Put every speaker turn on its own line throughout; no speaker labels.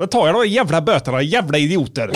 Då tar jag de jävla böterna, jävla idioter.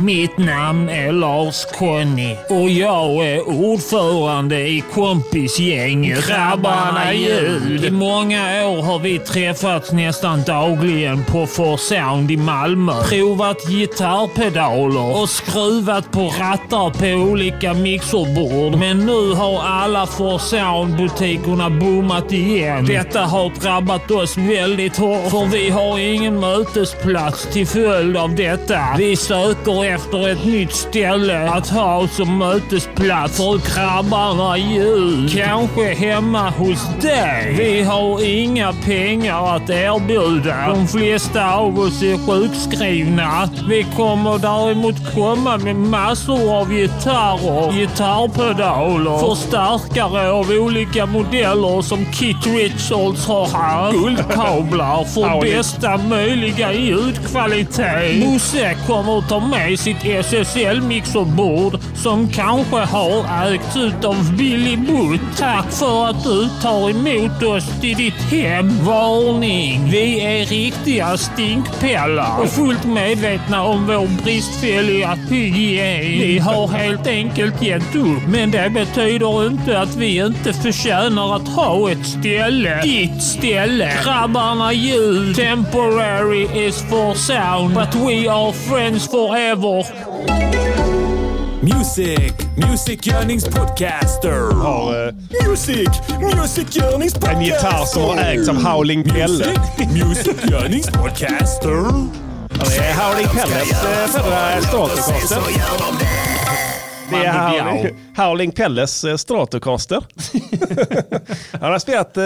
Mitt namn är Lars Conny och jag är ordförande i kompisgänget Grabbarna Ljud. I många år har vi träffats nästan dagligen på For Sound i Malmö. Provat gitarrpedaler och skruvat på rattar på olika mixerbord. Men nu har alla For Sound-butikerna bommat igen. Detta har drabbat oss väldigt hårt för vi har ingen mötesplats till följd av detta. Vi söker efter ett nytt ställe att ha som mötesplats för grabbarna i jul. Kanske hemma hos dig. Vi har inga pengar att erbjuda. De flesta av oss är sjukskrivna. Vi kommer däremot komma med massor av gitarrer, gitarrpedaler, förstärkare av olika modeller som Kit Richards har haft, guldkablar för
Audi.
bästa möjliga ljudkvalitet. Musse kommer ta med sitt SSL-mixerbord som kanske har ägts ut av Billy Butt. Tack för att du tar emot oss till ditt hem. Varning! Vi är riktiga stinkpellar och fullt medvetna om vår bristfälliga hygien. Vi har helt enkelt gett upp, men det betyder inte att vi inte förtjänar att ha ett ställe. Ditt ställe! Grabbarna ljud! Temporary is for sound, but we are friends forever.
Music, musikgörningspodcaster.
Har eh,
Music, musikgörningspodcaster.
en gitarr som har ägts av Howling Pelle.
Music, musikgörningspodcaster.
Det är Howling Pelles eh, förra Stratocaster. Det är Howling, Howling Pelles eh, Stratocaster. Han har spelat eh,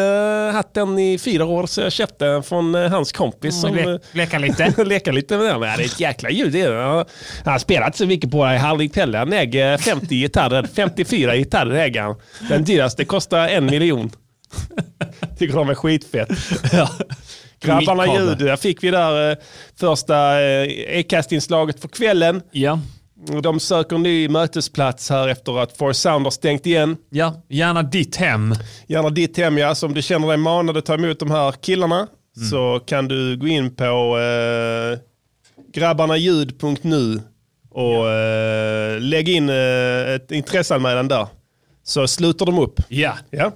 hatten i fyra år så jag köpte den från eh, hans kompis som eh,
leka lite.
leka lite med den. Men Det är ett jäkla ljud. det är det. Han han har spelat så mycket på det. Howling Pelle han äger 50 gitarrer. 54 gitarrer äger han. Den dyraste kostar en miljon. Tycker de är skitfett. Grabbarna
Mikrobben.
ljud, där fick vi där eh, första eh, e-castinslaget för kvällen.
Ja.
Och De söker ny mötesplats här efter att For Sound har stängt igen.
ja, gärna ditt hem.
Gärna ditt hem, ja. Så om du känner dig manad att ta emot de här killarna
Mm.
så kan du gå in på eh, grabbarnaljud.nu och eh, lägg in eh, ett intresseanmälan där. Så sluter de upp.
Ja.
Ja.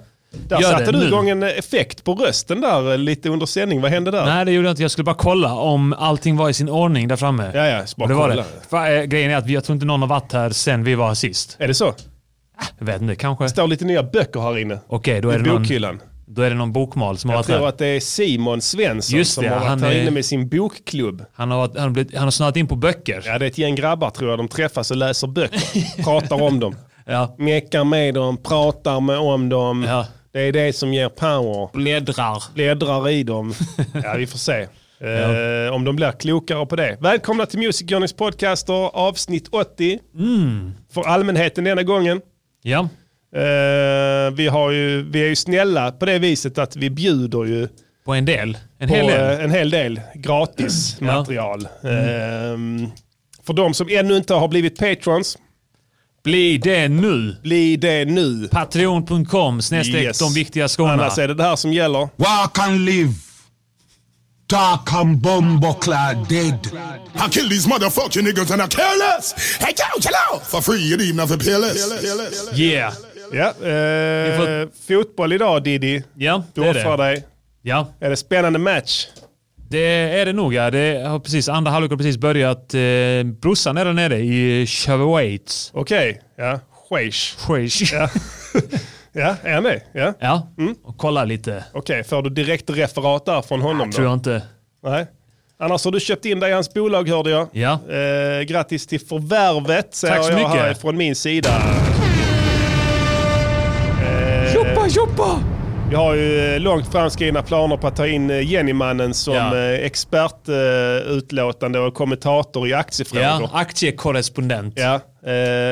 Där
Gör
satte
det
du
nu.
igång en effekt på rösten där eh, lite under sändning. Vad hände där?
Nej, det gjorde jag inte. Jag skulle bara kolla om allting var i sin ordning där framme.
Ja, ja,
Och
bara
det var det.
kolla.
Fa- eh, Grejen är att vi- jag tror inte någon har varit här sen vi var här sist.
Är det så?
Jag vet inte, kanske.
Det står lite nya böcker här inne.
Okej, då,
I
är det någon-
bokhyllan.
då är det någon bokmal som har
Jag
varit
tror
här.
att det är Simon Svensson
Just
som
det,
har varit
han
här
är-
inne med sin bokklubb.
Han har, varit- han, har blivit, han har snöat in på böcker. Ja.
Ja, det är ett gäng grabbar tror jag. De träffas och läser böcker. pratar om dem.
Ja.
Mekar med dem, pratar med om dem.
Ja.
Det är det som ger power.
Bläddrar.
Bläddrar i dem. Ja, vi får se. Eh, om de blir klokare på det. Välkomna till Music Journeys podcaster avsnitt 80.
Mm.
För allmänheten denna gången.
Ja.
Eh, vi, har ju, vi är ju snälla på det viset att vi bjuder ju
På en del. En
på
hel del. Mm.
eh, en hel del gratis material. Ehm, för de som ännu inte har blivit patrons,
Bli det nu.
bli det nu.
Patreon.com snedstreck
Yes.
de viktiga skorna.
Annars är det det här som gäller.
Walk and live. Dark and bumbo clad dead.
I kill these motherfucking niggas and I care less. Hey, yo, hello. For free, you didn't have to pay less.
Yeah.
Ja, eh,
får-
Fotboll idag Diddy.
Ja,
Du
det är
offrar
det.
dig.
Ja,
Är det spännande match?
det är det nog. Ja. Det har precis, andra halvlek har precis börjat. Eh, brorsan är där nere i Chavawates.
Okej, ja. Schweiz.
Ja.
Ja, är han det? Ja.
ja.
Mm.
Och kolla lite.
Okej, får du direkt referat där från honom
Tror
då?
jag inte.
Nej. Annars har du köpt in dig i hans bolag hörde jag.
Ja.
Eh, grattis till förvärvet säger
Tack så
jag
mycket.
här från min sida. Eh,
Tjoppa, tjoppa!
Vi har ju eh, långt framskridna planer på att ta in eh, Jennymannen som eh,
Ja.
expertutlåtande och kommentator i aktiefrågor.
Ja,
Ja.
aktiekorrespondent.
eh,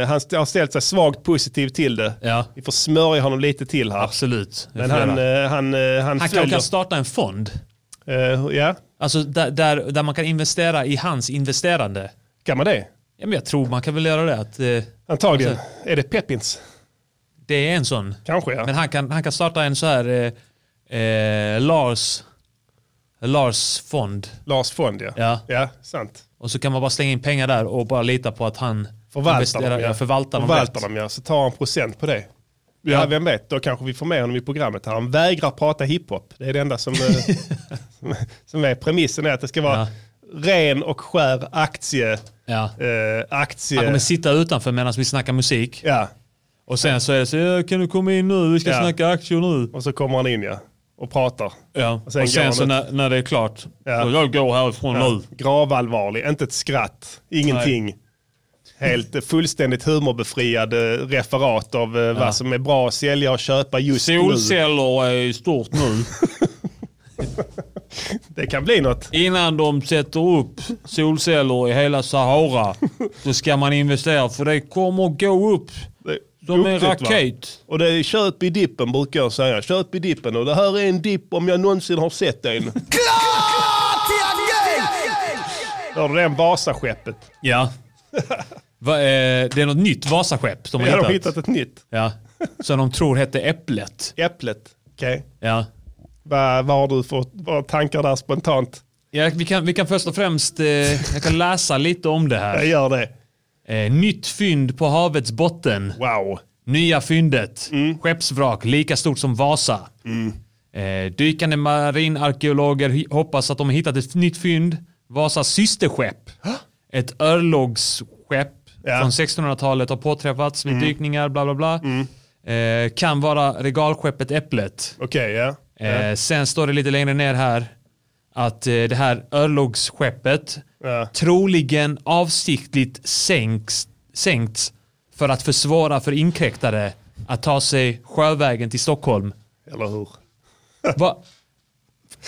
han st- har ställt sig svagt positiv till det.
Ja.
Vi får smörja honom lite till här.
Absolut. Det
Men
får jag
han,
göra.
eh, han, eh, han,
han kanske
följer.
kan starta en fond.
Eh, ja,
Alltså där, där, där man kan investera i hans investerande.
kan man det?
Ja, men jag tror man kan väl göra det. Att, eh,
Antagligen.
Alltså-
Är det Peppins?
det är en sån.
Kanske ja.
Men han kan, han kan starta en så här eh, eh, Lars Lars fond.
Lars Fond ja.
Ja.
Ja, sant.
Och så kan man bara slänga in pengar där och bara lita på att han
Förvaltar dem,
investerar-
ja.
ja, förvaltar,
Förvaltar
dem rätt.
dem, ja. Så tar han procent på det. Ja. vem vet, då kanske vi får med honom i programmet. här. Han vägrar prata hiphop. Det är det enda som, eh, som- som är premissen. Är att det ska vara
Ja.
ren och skär aktie. Eh,
Ja. Han kommer
aktie.
sitta utanför medan vi snackar musik.
Ja,
Och sen så är det så, "Ja, kan du komma in nu? Vi ska
Ja.
snacka aktier nu.
och så kommer han in ja. Och pratar.
Ja.
Och
Och
sen
sen,
går
så
han
när, när det är klart,
Ja.
"Så jag går härifrån nu.
Gravallvarlig, inte ett skratt, ingenting. Helt eh, fullständigt humorbefriad eh, referat av eh, vad som är bra att sälja och köpa just nu.
Solceller är i stort nu.
Det kan bli något.
Innan de sätter upp solceller i hela Sahara så ska man investera för det kommer gå upp
Det-
som en
duktigt, va?
raket.
Och det är köp i dippen brukar jag säga. Köp i dippen och det här är en dipp om jag någonsin har sett en. Hörde du den Vasaskeppet?
Ja. Va, eh, det är något nytt Vasaskepp de har
Jag har
hittat.
hittat ett nytt.
Ja. Som de tror hette Äpplet.
Äpplet. Okej.
Ja.
Vad, vad har du för vad tankar där spontant?
Ja, vi, kan, vi kan först och främst eh, jag kan läsa lite om det
Jag
här.
gör det.
Eh, nytt fynd på havets botten.
Wow.
Nya fyndet. Skeppsvrak lika stort som Vasa. Eh, dykande marinarkeologer hy- hoppas att de har hittat ett nytt fynd. Vasas systerskepp. Ett örlogsskepp
Ja.
från 1600-talet har påträffats vid dykningar, bla bla bla. Eh, kan vara regalskeppet Äpplet.
Okej, ja.
Eh, sen står det lite längre ner här att eh, det här örlogsskeppet
Ja.
troligen avsiktligt sänks, sänkts för att försvåra för inkräktare att ta sig sjövägen till Stockholm.
Eller hur?
Va?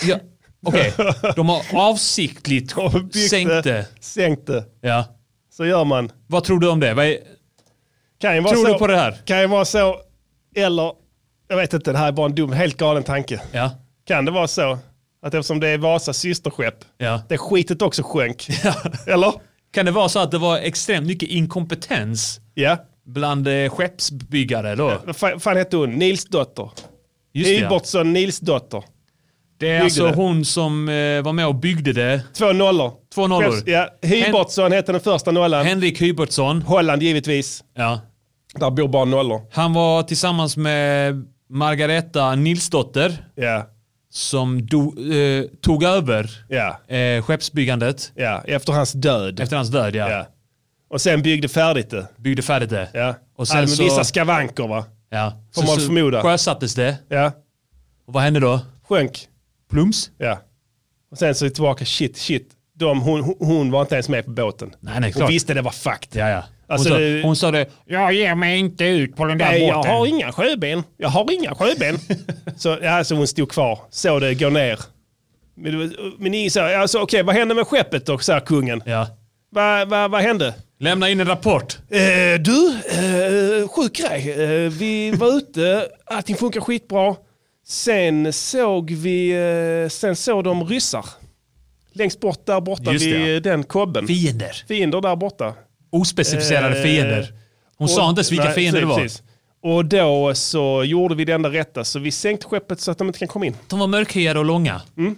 Ja, Okej, de har avsiktligt
Och byggt
sänkt det.
Sänkt det.
Ja.
Så gör man.
Vad tror du om det? Vad är,
Kan ju vara
Tror
så,
du på det här?
Kan ju vara så. Eller, jag vet inte, det här är bara en dum, helt galen tanke.
ja.
Kan det vara så att eftersom det är Vasas systerskepp,
Ja.
det skitet också sjönk? Eller?
Kan det vara så att det var extremt mycket inkompetens
Ja.
bland eh, skeppsbyggare då?
Vad fan, fan hette hon? Nilsdotter.
Just det, ja.
Ibertsson Nilsdotter.
Det är
Byggde
alltså
det.
hon som eh, var med och byggde det.
Två nollor.
Två nollor.
Chefs- Ja. Hybertsson hette den första nollan.
Henrik Hybertsson.
Holland givetvis.
Ja.
Där bor bara nollor.
Han var tillsammans med Margareta Nilsdotter
Ja.
som do, eh, tog över
Ja.
eh, skeppsbyggandet
Ja. Efter hans död.
efter hans död. Ja.
Ja. Och sen byggde färdigt det.
Byggde färdigt det.
Ja.
Och sen
Ja, men
så,
Vissa skavanker va?
ja.
får man förmoda.
sjösattes det.
Ja.
Och vad hände då?
Sjönk.
Plums?
Ja. Och sen så är det tillbaka, shit, shit. De, hon, hon- hon var inte ens med på båten.
Nej, nej,
hon
klart.
visste det var fakt.
Ja, ja. Hon,
Alltså,
sa,
det-
hon sa det. Jag ger mig inte ut på den där
Nej, jag
båten.
har inga sjöben. Jag har inga sjöben. så ja, så hon stod kvar, så det gå ner. Men, det var- men ni sa, alltså, okej, vad hände med skeppet då, sa kungen.
Ja.
Va, va, vad hände?
Lämna in en rapport.
Eh, du, eh, sjuk grej. Eh, vi var ute, allting funkar skitbra. Sen såg vi, eh, sen såg de ryssar. Längst bort där borta
Just det,
vid
ja.
eh, den kobben.
Fiender.
Fiender där borta.
Ospecificerade
Eh,
fiender. Hon sa inte ens vilka
nej,
fiender det var.
precis. Och då så gjorde vi det enda rätta, så vi sänkte skeppet så att de inte kan komma in.
De var mörkhyade och långa.
Mm.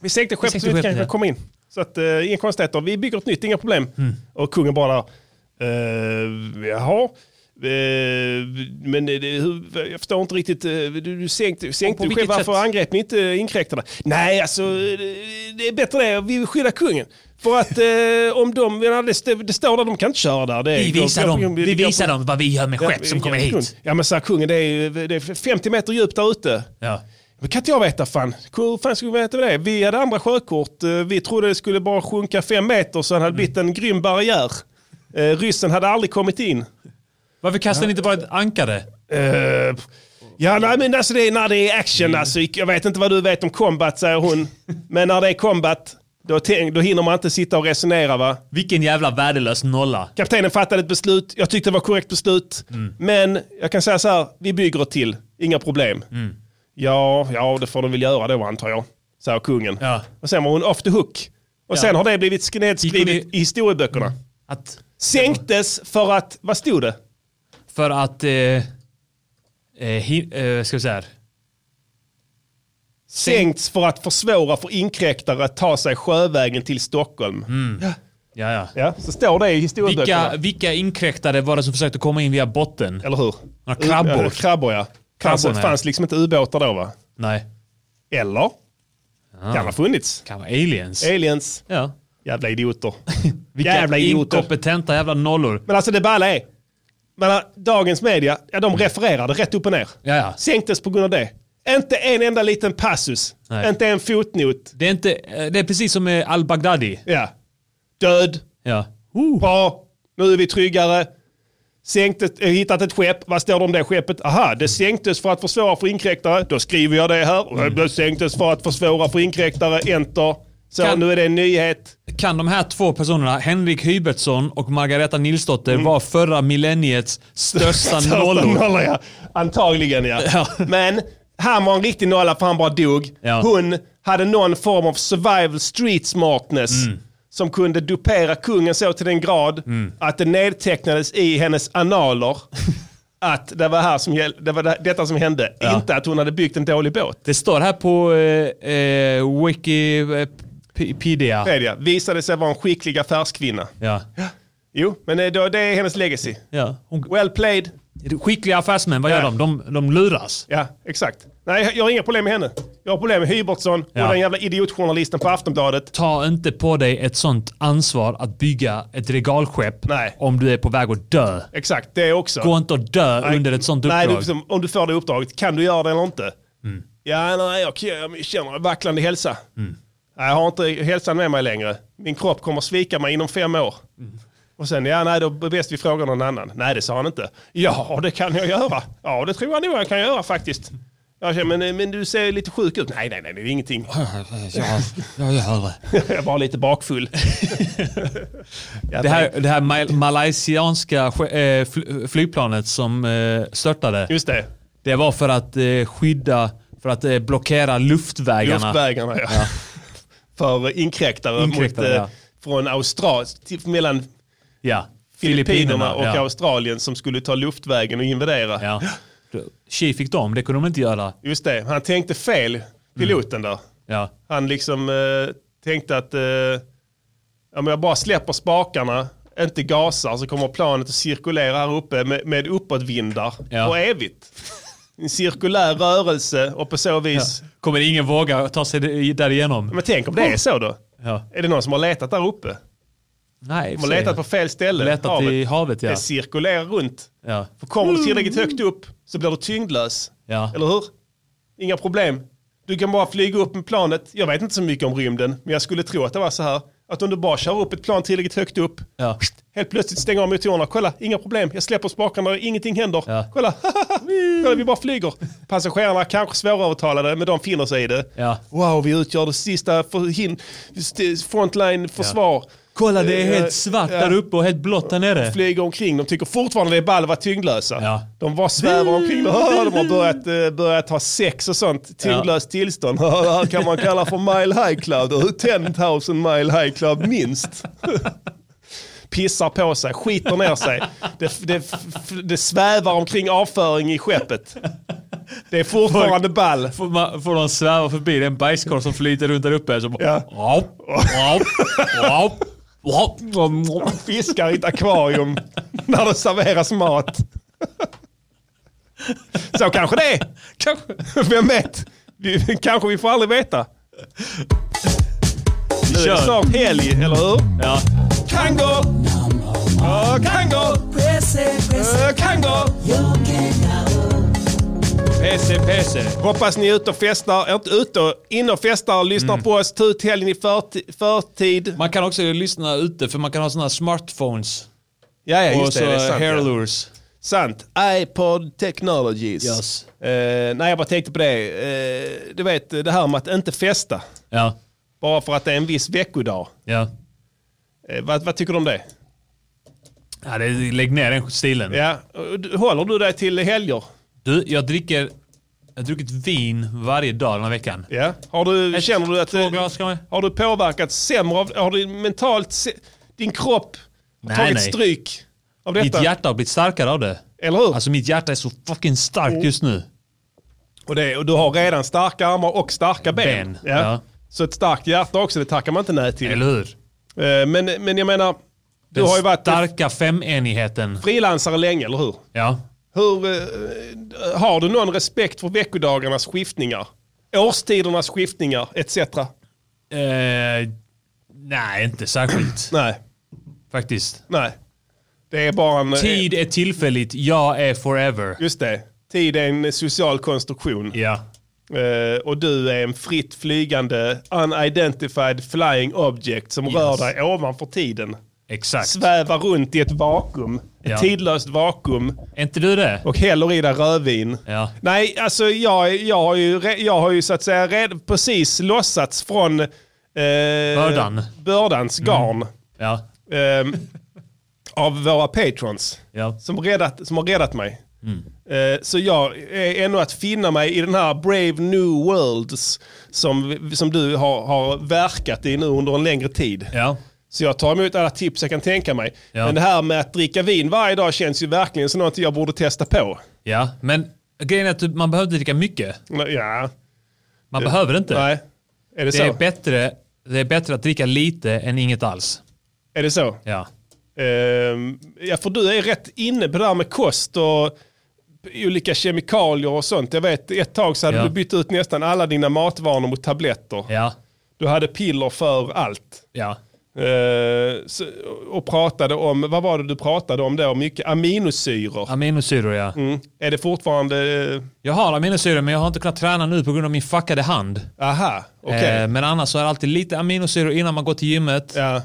Vi sänkte skeppet
sänkte
så att de inte
skeppet,
kan
ja.
komma in. Så att, eh, inga konstigheter, vi bygger ett nytt, inga problem.
Mm.
Och kungen bara, uh, jaha. Eh, men eh, det, hur, jag förstår inte riktigt, eh, du, du sänkte, sänkte
på
du
vilket
själv, varför
sätt?
angrep ni inte inkräktarna? Nej, alltså eh, det är bättre det, vi vill skydda kungen. För att eh, om de, det, står- det står där, de kan inte köra där. Det, är-
Vi visar,
jag- jag-
dem,
jag-
vi
jag-
visar dem vad vi gör med skepp
Ja,
som
ja,
kommer hit.
Ja men så här, kungen, det är, ju- det är 50 meter djupt där ute.
Ja.
Men kan inte jag veta fan. Hur fan skulle vi veta det? Vi hade andra sjökort. Eh, Vi trodde det skulle bara sjunka fem meter så det hade blivit en grym barriär. Eh, ryssen hade aldrig kommit in.
Varför kastar ni inte bara ett ankare?
Eh, ja, nej, men alltså det är när det är
Mm.
action. Alltså, jag vet inte vad du vet om combat, säger hon. Men när det är combat, då, tänk, då hinner man inte sitta och resonera va?
Vilken jävla värdelös nolla.
Kaptenen fattade ett beslut, jag tyckte det var korrekt beslut.
Mm.
Men jag kan säga så här, vi bygger ett till, inga problem.
Mm.
Ja, ja, det får de väl göra då antar jag, säger kungen.
Ja.
Och sen var hon off the hook. Och
Ja.
sen har det blivit
Gick
nedskrivet
hon Mm.
i historieböckerna.
Att,
Sänktes för att, vad stod det?
för att... Eh, eh, hi, eh, ska vi säga här.
Sänkts för att försvåra för inkräktare att ta sig sjövägen till Stockholm.
Ja, ja.
Ja, så står det i historieböckerna.
Mm. Vilka, vilka inkräktare var det som försökte komma in via botten?
Eller hur?
Ja, krabbor.
Ja, krabbor ja. Fanns,
Krabborna, ja.
fanns liksom inte ubåtar då va?
Nej.
Eller? Kan ha funnits.
Kan vara aliens.
Aliens.
ja.
Jävla idioter.
Vilka
Jävla idioter.
inkompetenta jävla nollor.
Men alltså det balla är. Men äh, dagens media, ja de refererade rätt upp och ner.
Ja, ja.
Sänktes på grund av det. Inte en enda liten passus.
Nej.
Inte en fotnot.
Det är, inte, eh, det är precis som med al-Baghdadi.
Ja. Död.
Ja.
Uh. Bra. Nu är vi tryggare. Sänktes, eh, hittat ett skepp. Vad står det om det skeppet? Aha, det sänktes för att försvåra för inkräktare. Då skriver jag det här.
Mm.
Det sänktes för att försvåra för inkräktare. Enter. Så
Kan-
nu är det en nyhet.
Kan de här två personerna, Henrik Hybertsson och Margareta Nilsdotter,
Mm.
var förra millenniets största nollor?
nollor ja. Antagligen ja.
Ja.
Men han var en riktig nolla för han bara dog.
Ja.
Hon hade någon form av survival street smartness.
Mm.
Som kunde dupera kungen så till den grad att det nedtecknades i hennes analer att det var, här som, gäll- det var det- detta som hände.
Ja.
Inte att hon hade byggt en dålig båt.
Det står här på eh, eh, Wikipedia.
Media visade sig vara en skicklig affärskvinna.
Ja.
Jo, men det, då- det är hennes legacy.
Ja. Hon,
Well played.
skickliga affärsmän, vad gör
Ja.
de? de? De luras.
Ja, exakt. Nej, jag har inga problem med henne. Jag har problem med Hybertsson
Ja.
och den jävla idiotjournalisten på Aftonbladet.
Ta inte på dig ett sånt ansvar att bygga ett regalskepp
Nej.
om du är på väg att dö.
Exakt, det också.
Gå inte och dö under ett sånt uppdrag. Mm.
Nej, du, liksom, om du får det uppdraget, kan du göra det eller inte? Ja, nej, jag, jag känner vacklande hälsa. Nej, jag har inte hälsan med mig längre. Min kropp kommer svika mig inom fem år.
Mm.
Och sen, ja nej, då är bäst vi frågar någon annan. Nej, det sa han inte. Ja, det kan jag göra. Ja, det tror jag nog jag kan göra faktiskt. Jag känner, men, men du ser lite sjuk ut. Nej, nej, nej, det är ingenting.
Ja, jag hör det.
Jag var lite bakfull.
Det här, det här mal- malaysianska ske- eh, fl- flygplanet som eh, störtade,
Just det,
det var för att eh, skydda, för att eh, blockera luftvägarna.
luftvägarna. Ja. För inkräktare,
Inkräktare,
mot, eh,
ja.
från Australien, mellan
Ja.
Filippinerna och
ja.
Australien som skulle ta luftvägen och invadera.
Ja. Tji fick dem, det kunde de inte göra.
Just det, han tänkte fel, piloten där.
Ja.
Han liksom eh, tänkte att eh, ja, men jag bara släpper spakarna, inte gasar, så kommer planet att cirkulera här uppe med, med uppåtvindar
Ja.
för evigt. En cirkulär rörelse och på så vis.
Kommer ingen våga ta sig d- därigenom?
Men tänk om det är så då?
Ja.
Är det någon som har letat där uppe?
Nej, i och
De
för
har
sig.
letat på fel ställe.
Letat i havet, ja.
Det cirkulerar runt.
Ja. Mm.
För kommer du tillräckligt högt upp så blir du tyngdlös.
Ja.
Eller hur? Inga problem. Du kan bara flyga upp med planet. Jag vet inte så mycket om rymden, men jag skulle tro att det var så här. Att om du bara kör upp ett plan tillräckligt högt upp,
Ja.
helt plötsligt stänger av motorerna. Kolla, inga problem. Jag släpper spakarna och ingenting händer.
Ja.
Kolla. Kolla, vi bara flyger. Passagerarna kanske svårövertalade, men de finner sig i det.
Ja.
Wow, vi utgör det sista förhin- st- frontline-försvar.
Kolla, det är
Eh,
helt svart
ja.
där uppe och helt blått där nere.
flyger omkring. De tycker fortfarande det är ball att vara tyngdlösa.
Ja.
De bara svävar omkring. Åh, De har börjat, eh, börjat ha sex och sånt. Tyngdlöst tillstånd. Åh, Det här kan man kalla för mile high cloud. 10,000 mile high cloud minst. Pissar på sig, skiter ner sig. Det, det, det svävar omkring avföring i skeppet. Det är fortfarande ball.
Får, man, får de sväva förbi, det är en bajskorv som flyter runt där uppe. Så bara,
Ja.
Wap, wap, wap, wap, wap, wap.
fiskar i ett akvarium när det serveras mat. Så kanske det är. Kanske. Vem vet? Vi, kanske vi får aldrig veta. Nu är det
Kör.
snart helg, eller hur?
Ja.
Kango! Ja, kango! Ja, Kango!
Pese, pese.
Hoppas ni är ute och festar. Är inte ute, och- inne och festar. Lyssnar på oss. Ta ut helgen i förti- förtid.
Man kan också lyssna ute för man kan ha såna här smartphones.
Ja, ja,
och
just
så
det. det är sant, ja.
hairlures.
Sant. iPod Technologies.
Yes.
Eh, nej, jag bara tänkte på det. Eh, du vet, det här med att inte festa.
Ja.
Bara för att det är en viss veckodag.
Ja.
Eh, vad, vad tycker du om det?
ja det, lägg ner den stilen.
Ja. och du- Håller du dig till helger?
Du, jag dricker... Jag har druckit vin varje dag den här veckan.
Ja. Har du,
Ett,
känner du att... eh,
Två glas kan man...
Har du påverkats sämre av... Har du mentalt... Se, din kropp har
Nej,
tagit
nej.
stryk av detta?
Mitt hjärta har blivit starkare av det.
Eller hur? Oh.
Alltså mitt hjärta är så fucking starkt just nu.
Och, det, och du har redan starka armar och starka ben.
Ben, ja.
Så ett starkt hjärta också, det tackar man inte nej till.
Eller hur?
Eh, Men, men jag menar, du
Den
har ju varit
starka femenigheten.
frilansare länge, eller hur?
Ja.
Hur, eh, har du någon respekt för veckodagarnas skiftningar? Årstidernas skiftningar etc.
Eh, nej, inte särskilt
Nej,
faktiskt.
nej. Det är bara en... eh,
Tid är tillfälligt, jag är forever.
Just det. Tid är en social konstruktion.
Ja.
Eh, och du är en fritt flygande unidentified flying object som rör dig ovanför tiden.
Exakt.
Svävar runt i ett vakuum.
Ja.
Ett tidlöst vakuum.
Är inte du det?
Och häller i dig rödvin.
Ja.
Nej, alltså jag, jag, har ju, re- jag har ju så att säga red, precis lossats från eh,
Bördan. Mm.
bördans garn
Ja.
eh, av våra patrons
Ja. Mm.
som, redat, som har räddat mig. Eh, så jag är ännu att finna mig i den här Brave New Worlds som, som du har, har verkat i nu under en längre tid.
Ja.
Så jag tar emot alla tips jag kan tänka mig.
Ja.
Men det här med att dricka vin varje dag känns ju verkligen som något jag borde testa på.
Ja. Men grejen är att du- man behöver inte dricka mycket.
Ja,
Man behöver inte.
nej. Är det,
Det
så?
är, bättre, det är bättre att dricka lite än inget alls.
är det så?
Ja.
Ehm, ja, för du är rätt inne på det här med kost och olika kemikalier och sånt. Jag vet, ett tag så hade
Ja.
du bytt ut nästan alla dina matvanor mot tabletter.
Ja.
Du hade piller för allt.
Ja.
Ehm, så, och pratade om, vad var det du pratade om då? Mycket aminosyror.
Aminosyror ja.
Mm. Är det fortfarande, eh,
Jag har aminosyror men jag har inte kunnat träna nu på grund av min fuckade hand.
aha, okej.
Eh, men annars så är det alltid lite aminosyror innan man går till gymmet.
Ja,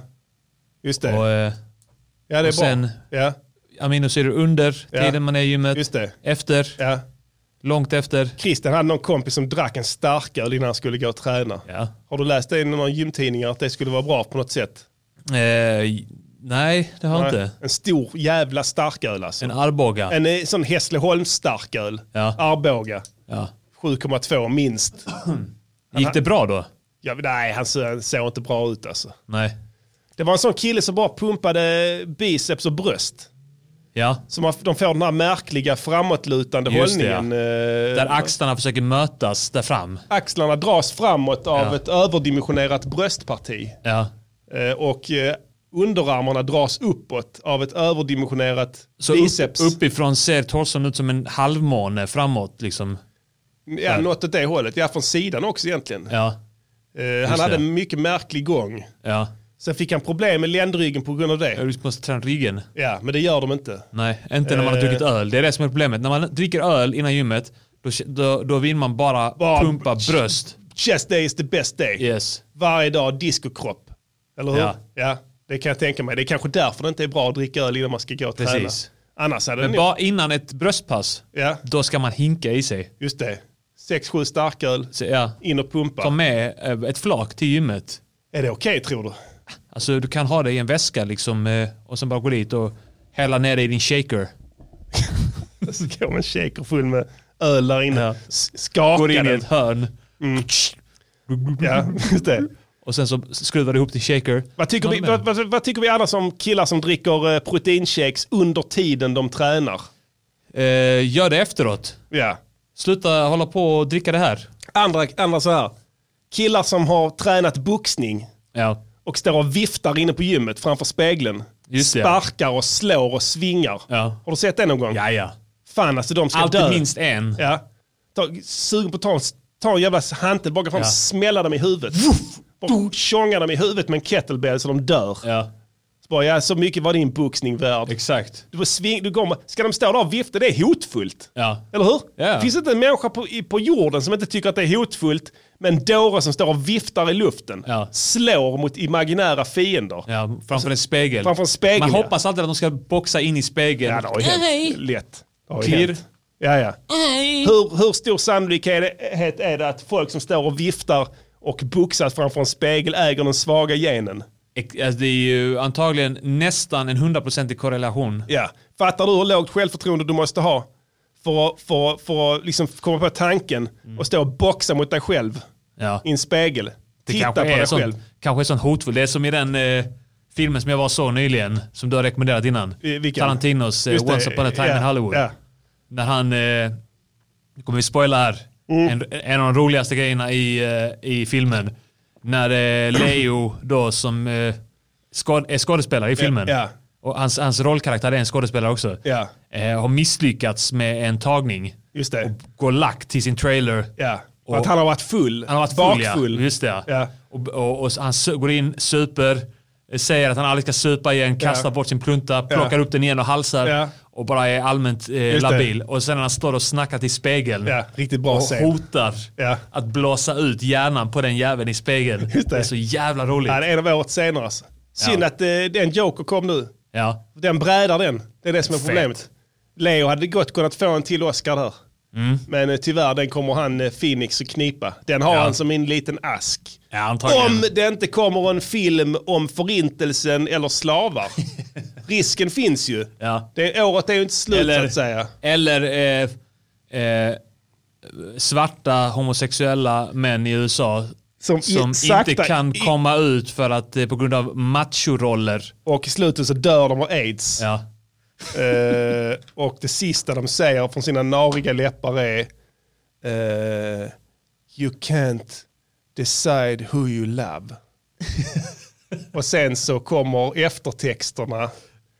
just det.
Och, eh,
ja, det är
och sen-
bra. Ja,
aminosyror under
Ja.
tiden man är i gymmet.
Just det.
Efter.
ja.
Långt efter.
Christian hade någon kompis som drack en starköl innan han skulle gå och träna.
Ja.
Har du läst det i någon gymtidning att det skulle vara bra på något sätt?
Eh, nej, det har jag inte.
En stor jävla starköl alltså.
En
En,
Arboga.
eh, sån Hässleholms starköl.
Ja.
Arboga.
Ja.
7,2 minst.
Gick det bra då?
Ja, nej, han såg, han såg inte bra ut alltså.
Nej.
Det var en sån kille som bara pumpade biceps och bröst.
Ja.
Så man, de får den här märkliga framåtlutande
Just det,
hållningen. eh,
Där axlarna försöker mötas där fram.
axlarna dras framåt av
Ja.
ett överdimensionerat bröstparti.
Ja.
Eh, och eh, underarmarna dras uppåt av ett överdimensionerat
Så upp,
biceps.
uppifrån ser torson ut som en halvmåne framåt liksom.
Ja, något åt det hållet. Ja, från sidan också egentligen.
Ja.
Eh, han hade
det.
en mycket märklig gång.
Ja.
Sen fick han problem med ländryggen på grund av det.
Du måste träna ryggen.
Ja, men det gör de inte.
Nej, inte när man har
Eh.
druckit öl. Det är det som är problemet. När man dricker öl innan gymmet, då, då, då vill man bara,
Bara-
pumpa bröst.
Chest day is the best day.
Yes.
Varje dag discokropp. Eller hur? Ja.
Ja.
det kan jag tänka mig. Det är kanske därför det inte är bra att dricka öl innan man ska gå och träna.
Precis.
Annars hade
Men
det nog...
bara innan ett bröstpass,
Ja,
då ska man hinka i sig.
just det. Sex, sju starköl,
Så, ja.
in och pumpa.
Ta med eh, ett flak till gymmet.
Är det okej tror du?
Alltså du kan ha det i en väska liksom eh, och sen bara gå dit och hälla ner det i din shaker.
Så går man shaker full med öl där inne.
Ja.
S- Skakar
Går in i
den.
ett hörn
Mm. Ja, just det.
och sen så skruvar du ihop din shaker.
Vad tycker, vi,
Ja, men-
vad, vad, vad tycker vi annars om killar som dricker eh, proteinshakes under tiden de tränar?
Eh, gör det efteråt.
Ja.
Sluta hålla på och dricka det här.
Andra, andra så här. Killar som har tränat boxning
Ja,
och står och viftar inne på gymmet framför spegeln.
Just det.
Sparkar och slår och svingar.
Ja.
Har du sett det någon gång?
ja. ja.
Fan alltså de ska dö.
Alltid minst en.
Ja. Ta, sugen på att ta en, ta en jävla hantel bakom fram och
Ja.
smälla dem i huvudet. Bara Tjonga dem i huvudet med en kettlebell så de dör.
Ja,
Så, bara, ja, så mycket var din boxning värd.
exakt.
Du, får sving, du går med, ska de stå där och vifta? Det är hotfullt.
Ja.
Eller hur?
Ja.
Finns det inte en människa på, i- på jorden som inte tycker att det är hotfullt med en dåre som står och viftar i luften?
Ja.
Slår mot imaginära fiender.
Ja, framför en spegel.
Framför en spegel,
Man
ja.
hoppas alltid att de ska boxa in i spegeln.
Ja, det har ju hänt. Lätt. Det har ju
Klirr.
hänt. Ja, ja. Hur, hur stor sannolikhet är det att folk som står och viftar och boxas framför en spegel äger den svaga genen?
Ex- alltså, det är ju antagligen nästan en hundraprocentig korrelation.
Ja. Fattar du hur lågt självförtroende du måste ha för att, för, att- för att liksom komma på tanken och stå och boxa mot dig själv
Ja.
i en spegel? Titta på
kanske är
dig
sån,
själv.
Kanske är sån hotfull. Det är som i den eh, filmen som jag var så nyligen, som du har rekommenderat innan.
I- vilken?
Tarantinos eh,
Just det,
Once upon a time
ja,
in Hollywood.
ja.
När han, eh, nu kommer vi spoila här,
Mm.
En, en av de roligaste grejerna i, eh, i filmen. När det är Leo då som eh, skad, är skådespelare i filmen.
ja.
Och hans, hans rollkaraktär är en skådespelare också.
Ja.
Eh, har misslyckats med en tagning.
Just det.
Och går lack till sin trailer.
Ja. För
Och-
att han har varit full.
Han har varit full,
bakfull.
Ja. Just det.
Ja.
Och, och, och han su- går in, super, eh, säger att han aldrig ska supa igen, kastar bort sin plunta, plockar upp den igen och halsar.
Ja.
Och bara är allmänt eh,
det.
labil. Och sen när han står och snackar till spegeln
Ja, riktigt bra
och
scen.
hotar
Ja.
att blåsa ut hjärnan på den jäveln i spegeln.
Just det.
är så jävla roligt.
Ja,
Ja,
det är en av årets scener alltså. Synd
Ja.
att eh, den Joker kom nu. Den brädar den. Det är det som är
Fett.
problemet. Leo hade gott kunnat få en till Oscar där.
Mm.
Men eh, tyvärr, den kommer han eh, Phoenix att knipa. Den har
Ja.
han som en liten ask.
Ja, antagligen.
Om det inte kommer en film om förintelsen eller slavar. Risken finns ju.
Ja.
Det, året är ju inte slut så
Eller,
att säga.
eller eh, eh, svarta homosexuella män i USA
Som i-
som
sakta
inte kan
i-
komma ut för att eh, på grund av machoroller.
Och i slutet så dör de av aids.
Ja.
Eh, och det sista de säger från sina nariga läppar är eh, You can't decide who you love. och sen så kommer eftertexterna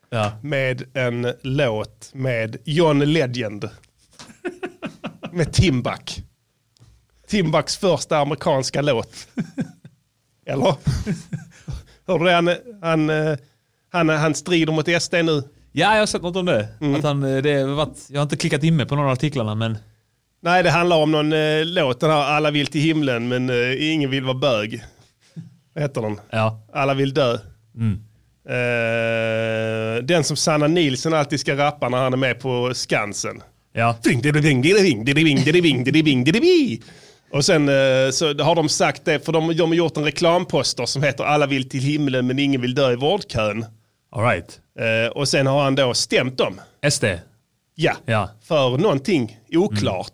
Ja.
med en låt med John Legend. med Timbuk. Timbaks första amerikanska låt. Eller? Hörde du det? han, han, eh, han, han strider mot SD nu?
ja, jag har sett något om det.
Mm.
Att han, eh, det har varit, jag har inte klickat in mig på några av artiklarna men
Nej, det handlar om någon eh, låt, den här Alla vill till himlen men eh, ingen vill vara bög. Vad heter den?
ja.
Alla vill dö. Eh, den som Sanna Nilsson alltid ska rappa när han är med på Skansen.
ja.
Ding, ding, ding, ding, ding, ding, ding, ding, ding, ding, ding, ding. Och sen eh, så har de sagt det, för de, de har gjort en reklamposter som heter Alla vill till himlen men ingen vill dö i vårdkön.
All right.
Eh, och sen har han då stämt dem.
SD.
Ja,
Ja.
för någonting oklart.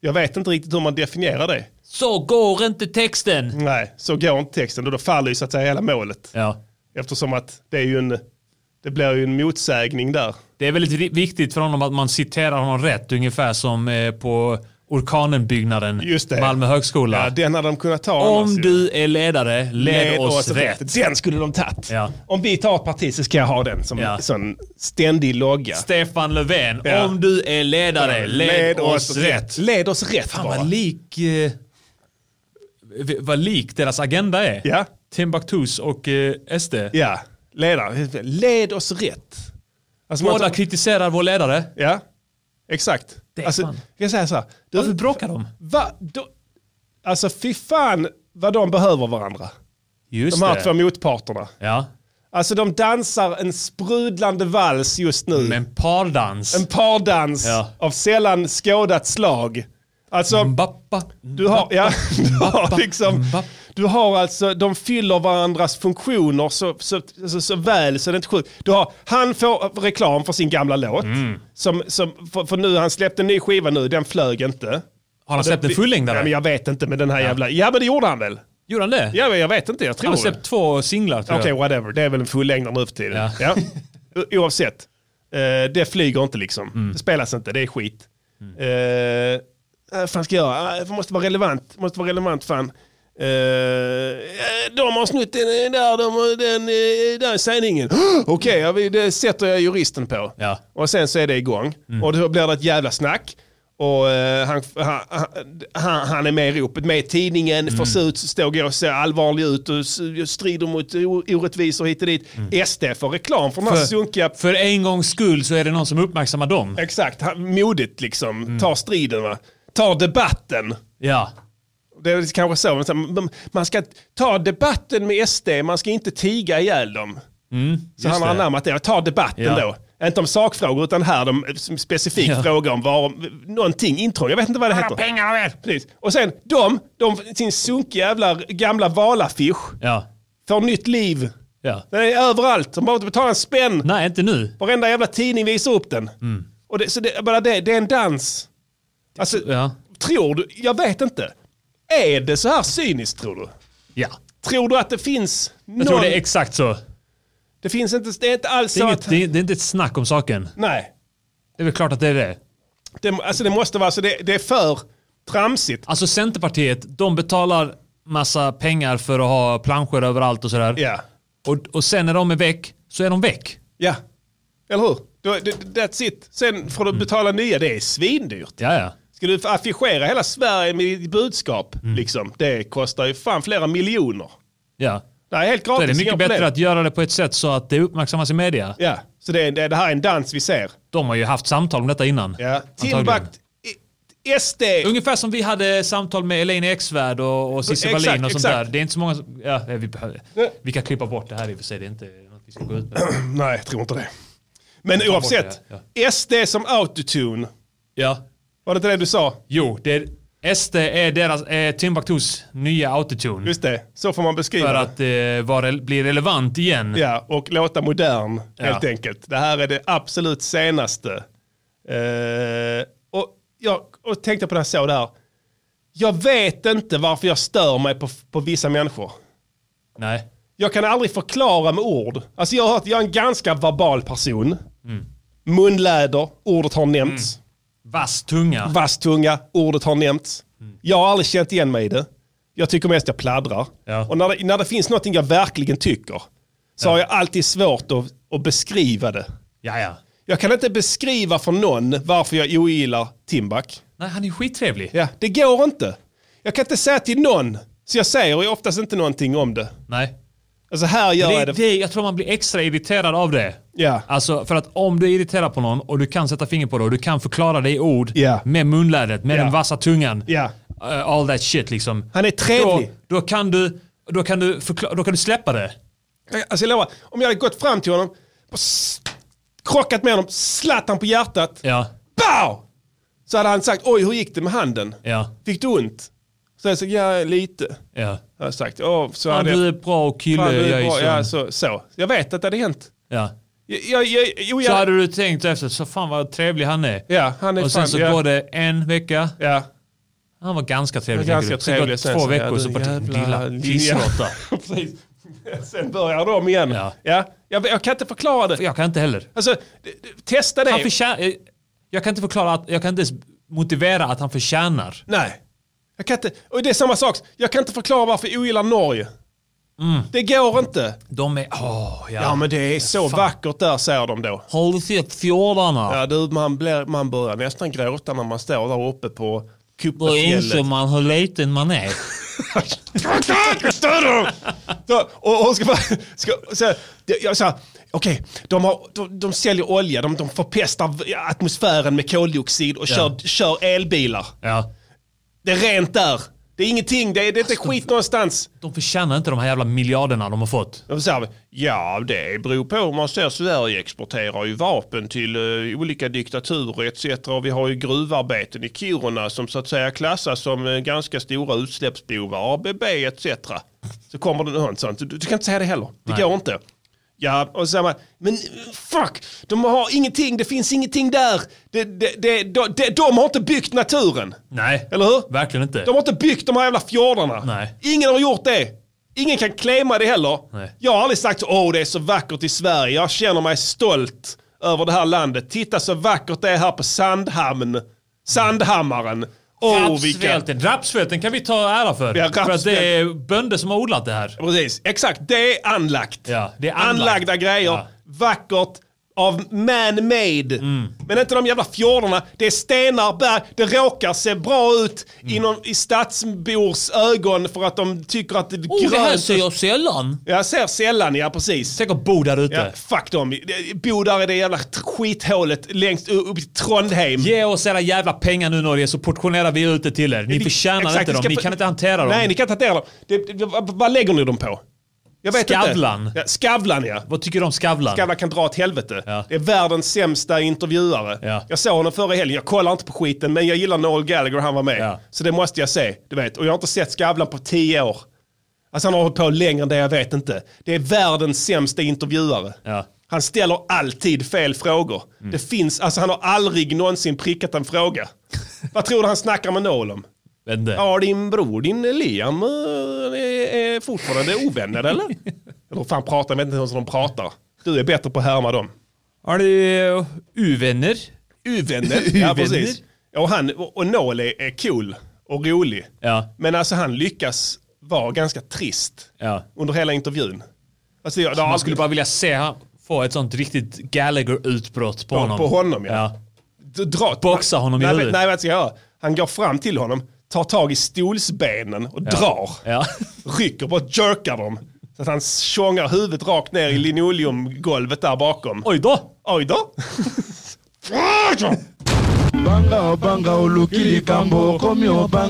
Jag vet inte riktigt hur man definierar det.
Så går inte texten.
Nej, så går inte texten och då faller ju så att säga hela målet.
Ja.
Eftersom att det är ju en, det blir ju en motsägning där.
Det är väldigt vi- viktigt för honom att man citerar honom rätt, ungefär som eh, på Orkanenbyggnaden,
Just det.
Malmö högskola.
Ja, den hade de kunnat ta annars
Om
ju.
du är ledare, led, oss, rätt.
Den skulle de tagit.
Ja.
Om vi tar ett parti så ska jag ha den som
Ja.
sån ständig logga.
Stefan Löfven,
Ja.
om du är ledare, led, oss, rätt.
Led oss rätt
Fan
bara.
vad lik, eh, v- vad lik deras agenda är.
Ja.
Timbuktus och eh, SD.
Ja, ledare. Led oss rätt. Alltså, man-
Båda kritiserar vår ledare.
Ja, exakt.
Det är
alltså,
fan. Alltså,
jag kan säga så här. Du,
Varför bråkar de?
Va? Då, alltså fy fan vad de behöver varandra.
Just
De här
det.
två motparterna.
Ja.
Alltså de dansar en sprudlande vals just nu.
Men pardans.
En pardans
Ja. Mm.
av sällan skådat slag. Alltså
Bappa.
du har, ja, du
Bappa.
har liksom,
Bappa.
du har alltså, de fyller varandras funktioner så, så, så, så väl så det är inte sjukt. Du har, han får reklam för sin gamla låt.
Mm.
Som, som, för, för nu, han släppte en ny skiva nu, den flög inte.
Har han släppt en
Ja, men
fullängdare?
jag vet inte med den här jävla... Ja men det gjorde han väl?
Gjorde han det?
Ja men jag vet inte, jag tror
Han har
det.
släppt två singlar tror
Okej
jag.
whatever, det är väl en fullängdare nu för tiden. Ja. O- Oavsett. Eh, det flyger inte liksom. Det spelas inte, det är skit. Eh, vad fan ska jag göra? Eh, Jag måste vara relevant. Måste vara relevant fan. Eh, eh, de har snott den eh, där, de, har den eh, där sändningen. Okej, ja, vi- det sätter jag juristen på.
Ja.
Och sen så är det igång. Och då blir det ett jävla snack. Och eh, han, han, han, han är med i ropet, med i tidningen, får se ut, stå och se allvarlig ut och s- strider mot o- orättvisor hit och dit. SD får reklam för de här
För-
sunkiga...
För en gångs skull så är det någon som uppmärksammar dem.
Exakt, han- modigt liksom. Tar striden va. Tar debatten.
Ja.
Det är kanske så, men så här, man- man ska ta debatten med SD, man ska inte tiga ihjäl dem. så han har
Mm, det.
anammat det. Jag tar debatten
Ja.
då. Inte om sakfrågor, utan här de specifikt
Ja.
frågar om var, någonting, intrång, jag vet inte vad det heter.
pengar av er!
Precis. Och sen de, de sin sunkiga jävla gamla valaffisch,
Ja.
får nytt liv.
ja.
Den är överallt, de behöver inte betala en spänn.
Nej, inte nu.
Varenda jävla tidning visar upp den. Och det, så det, bara det, det är en dans. Alltså,
Mm. Ja.
tror du, jag vet inte. Är det så här cyniskt tror du?
Ja.
Tror du att det finns någon...
Jag tror det är exakt så.
det finns inte, det är inte alls
Det är,
så
inget,
att...
det, är, det är inte ett snack om saken.
Nej.
Det är väl klart att det är det.
Det, alltså det måste vara, så det, det är för... Tramsigt.
Alltså Centerpartiet, de betalar massa pengar för att ha planscher överallt och sådär.
Ja.
Och, och sen när de är väck, så är de väck.
Ja. Eller hur? Då- d- d- That's it. Sen får du
Mm.
betala nya. Det är svindyrt.
Ja, ja.
Ska du affischera hela Sverige med ditt budskap?
Mm.
Liksom? Det kostar ju fan flera miljoner.
ja.
Det här är helt
Då
gratis.
är det
inga
mycket bättre
problem.
att göra det på ett sätt så att det uppmärksammas i media.
Ja, så det, är- det, det här är en dans vi ser.
De har ju haft samtal om detta innan.
Ja.
antagligen.
Timbakt, i- SD.
Ungefär som vi hade samtal med Elaine Eksvärd och, och Cissi
Exakt,
Wallin och sånt
exakt.
där. Det är inte så många som, ja, vi, behöver, vi kan klippa bort det här i och för sig. Det är inte något vi ska gå ut med.
Nej, jag tror inte det. Men
bort
oavsett,
det,
SD som autotune.
Ja.
Var det inte det du sa?
Jo, det är, SD är deras, eh, Timbuktus nya autotune.
Just det, så får man beskriva
För
det.
att eh, vara, bli relevant igen.
Ja, och låta modern
Ja.
helt enkelt. Det här är det absolut senaste. Eh, och jag och tänkte på det här så där. Jag vet inte varför jag stör mig på, på vissa människor.
Nej.
Jag kan aldrig förklara med ord. Alltså jag, har, hört- jag är en ganska verbal person.
Mm.
Munläder, ordet har nämnts.
Vass tunga.
Vass tunga, ordet har nämnts.
Mm.
Jag har aldrig känt igen mig i det. Jag tycker mest jag pladdrar.
Ja.
Och när det, när det finns någonting jag verkligen tycker så har jag alltid svårt att, att beskriva det.
Ja, ja.
Jag kan inte beskriva för någon varför jag ogillar Timbuk.
Nej, han är ju skittrevlig.
Ja, det går inte. Jag kan inte säga till någon, så jag säger ju oftast inte någonting om det.
Nej.
Alltså här gör
Det,
jag det.
det, jag tror man blir extra irriterad av det.
Ja.
Alltså för att om du är irriterad på någon och du kan sätta fingret på det och du kan förklara det i ord
Ja.
med munlädret, med
Ja.
den vassa tungan.
Ja.
eh, all that shit liksom.
Han är trevlig.
Då, då, kan, du, då, kan, du förkla- då kan du släppa det.
Alltså jag lovar, om jag hade gått fram till honom, och s- krockat med honom, slatt han på hjärtat.
Ja.
Bow! Så hade han sagt, oj hur gick det med handen?
Ja.
Fick du ont? Så jag sa, ja lite.
Ja.
Jag har sagt, åh, så
Fan,
hade
du är
jag,
bra och kille.
fan, du är
jag är
bra.
sån.
Ja, så, så. Jag vet att det hade hänt.
Ja.
Jag, jag, jag, jo,
Så
jag,
hade du tänkt efter, så fan vad trevlig han är.
ja, han är
och sen
fan,
så
ja,
går det en vecka.
Ja,
Han var ganska trevlig.
Ganska
tänker du.
trevlig.
Sen
Sen
går det två
så, ja,
veckor
du
så bara
jävla
lilla
linja."
pissråtta.
precis. Sen börjar de igen.
Ja.
Ja. Jag, jag kan inte förklara det.
Jag kan inte heller.
Alltså, d- d- testa det.
Han förtjänar, eh, jag kan inte förklara, att, jag kan inte ens motivera att han förtjänar.
Nej. Jag kan inte, och det är samma sak, jag kan inte förklara varför jag ogillar Norge.
Mm.
Det går inte.
De är, åh ja.
Ja men det är så vackert där säger de då.
Har du sett fjordarna?
Ja, du, man, blir, man börjar nästan gråta när man står där uppe på
Då inser
Kuppefjället.
man hur liten man är.
Så- och hon ska bara... Ska, så, här, det- jag sa, okej, de, har- de, de säljer olja, de, de förpestar atmosfären med koldioxid och kör, kör elbilar.
Ja.
Det är rent där. Det är ingenting, det är, det är inte skit någonstans.
De förtjänar inte de här jävla miljarderna de har fått.
Och så här, ja, det beror på om man ser Sverige exporterar ju vapen till eh, olika diktaturer etc. Och vi har ju gruvarbeten i Kiruna som så att säga klassas som eh, ganska stora utsläppsbovar, ABB etc. Så kommer det något sånt. Du, du kan inte säga det heller. Det går inte. Ja, och så säger man, men eh, fuck, de har ingenting, det finns ingenting där. Det, det, det, de, de, de har inte byggt naturen.
Nej.
Eller hur?
Verkligen inte.
De har inte byggt de här jävla fjordarna.
Nej.
Ingen har gjort det. Ingen kan claima det heller.
Nej.
Jag har aldrig sagt åh det är så vackert i Sverige. Jag känner mig stolt över det här landet. Titta så vackert det är här på Sandhamn. Sandhammaren. Åh vilka...
rapsfälten. rapsfälten kan vi ta ära för.
Ja,
för att det är
rapsfält.
bönder som har odlat det här.
Precis, exakt. Det är anlagt.
Ja, det är anlagt.
Anlagda grejer.
Ja.
Vackert. Av man-made.
Mm.
Men inte de jävla fjordarna. Det är stenar, berg. Det råkar se bra ut
Mm.
i, någon, i stadsbors ögon för att de tycker att det är
Oh, det här
grönt.
ser jag sällan.
Jag ser sällan, ja precis.
Tänk att bo där ute.
Ja, fuck dem. Bo där i det jävla skithålet längst u- upp i Trondheim.
Ge oss era jävla pengar nu Norge så portionerar vi ut det till er. Ni förtjänar
Exakt,
inte
ni
dem.
ska
Ni
få-
kan inte hantera dem.
Nej, ni kan inte hantera dem. Det, det, vad vad lägger ni dem på? Jag vet
Skavlan.
inte. Ja, Skavlan. ja.
Vad tycker du om Skavlan?
Skavlan kan dra åt helvete.
Ja.
Det är världens sämsta intervjuare.
Ja.
Jag såg honom förra helgen. Jag kollar inte på skiten, men jag gillar Noel Gallagher, han var med.
Ja.
Så det måste jag se, du vet. Och jag har inte sett Skavlan på tio år. Alltså han har hållit på längre än det, jag vet inte. Det är världens sämsta intervjuare.
Ja. Mm.
Han ställer alltid fel frågor. Det finns, alltså han har aldrig någonsin prickat en fråga. Vad tror du han snackar med Noel om?
Vet inte.
Ja, din bror, din Liam, eh, är, är fortfarande ovänner eller? Eller hur fan pratar, jag vet inte ens hur de pratar. Du är bättre på att härma dem.
Har du eh, uvänner?
Uvänner. Ja,
Uvänner.
precis. Ja, och han, och och Noel är, är cool. och rolig.
Ja.
Men alltså han lyckas vara ganska trist
Ja.
under hela intervjun. Alltså, jag,
Man skulle bara vilja se han få ett sånt riktigt Gallagher-utbrott på
Ja,
honom.
på honom, ja.
ja.
d- dra,
boxa honom i
nej,
huvudet.
Nej, vad ska jag göra? Han går fram till honom, tar tag i stolsbenen och drar.
Ja.
Rycker, bara jerkar dem. Så att han tjongar huvudet rakt ner i linoleumgolvet där bakom.
Oj då!
Oj då!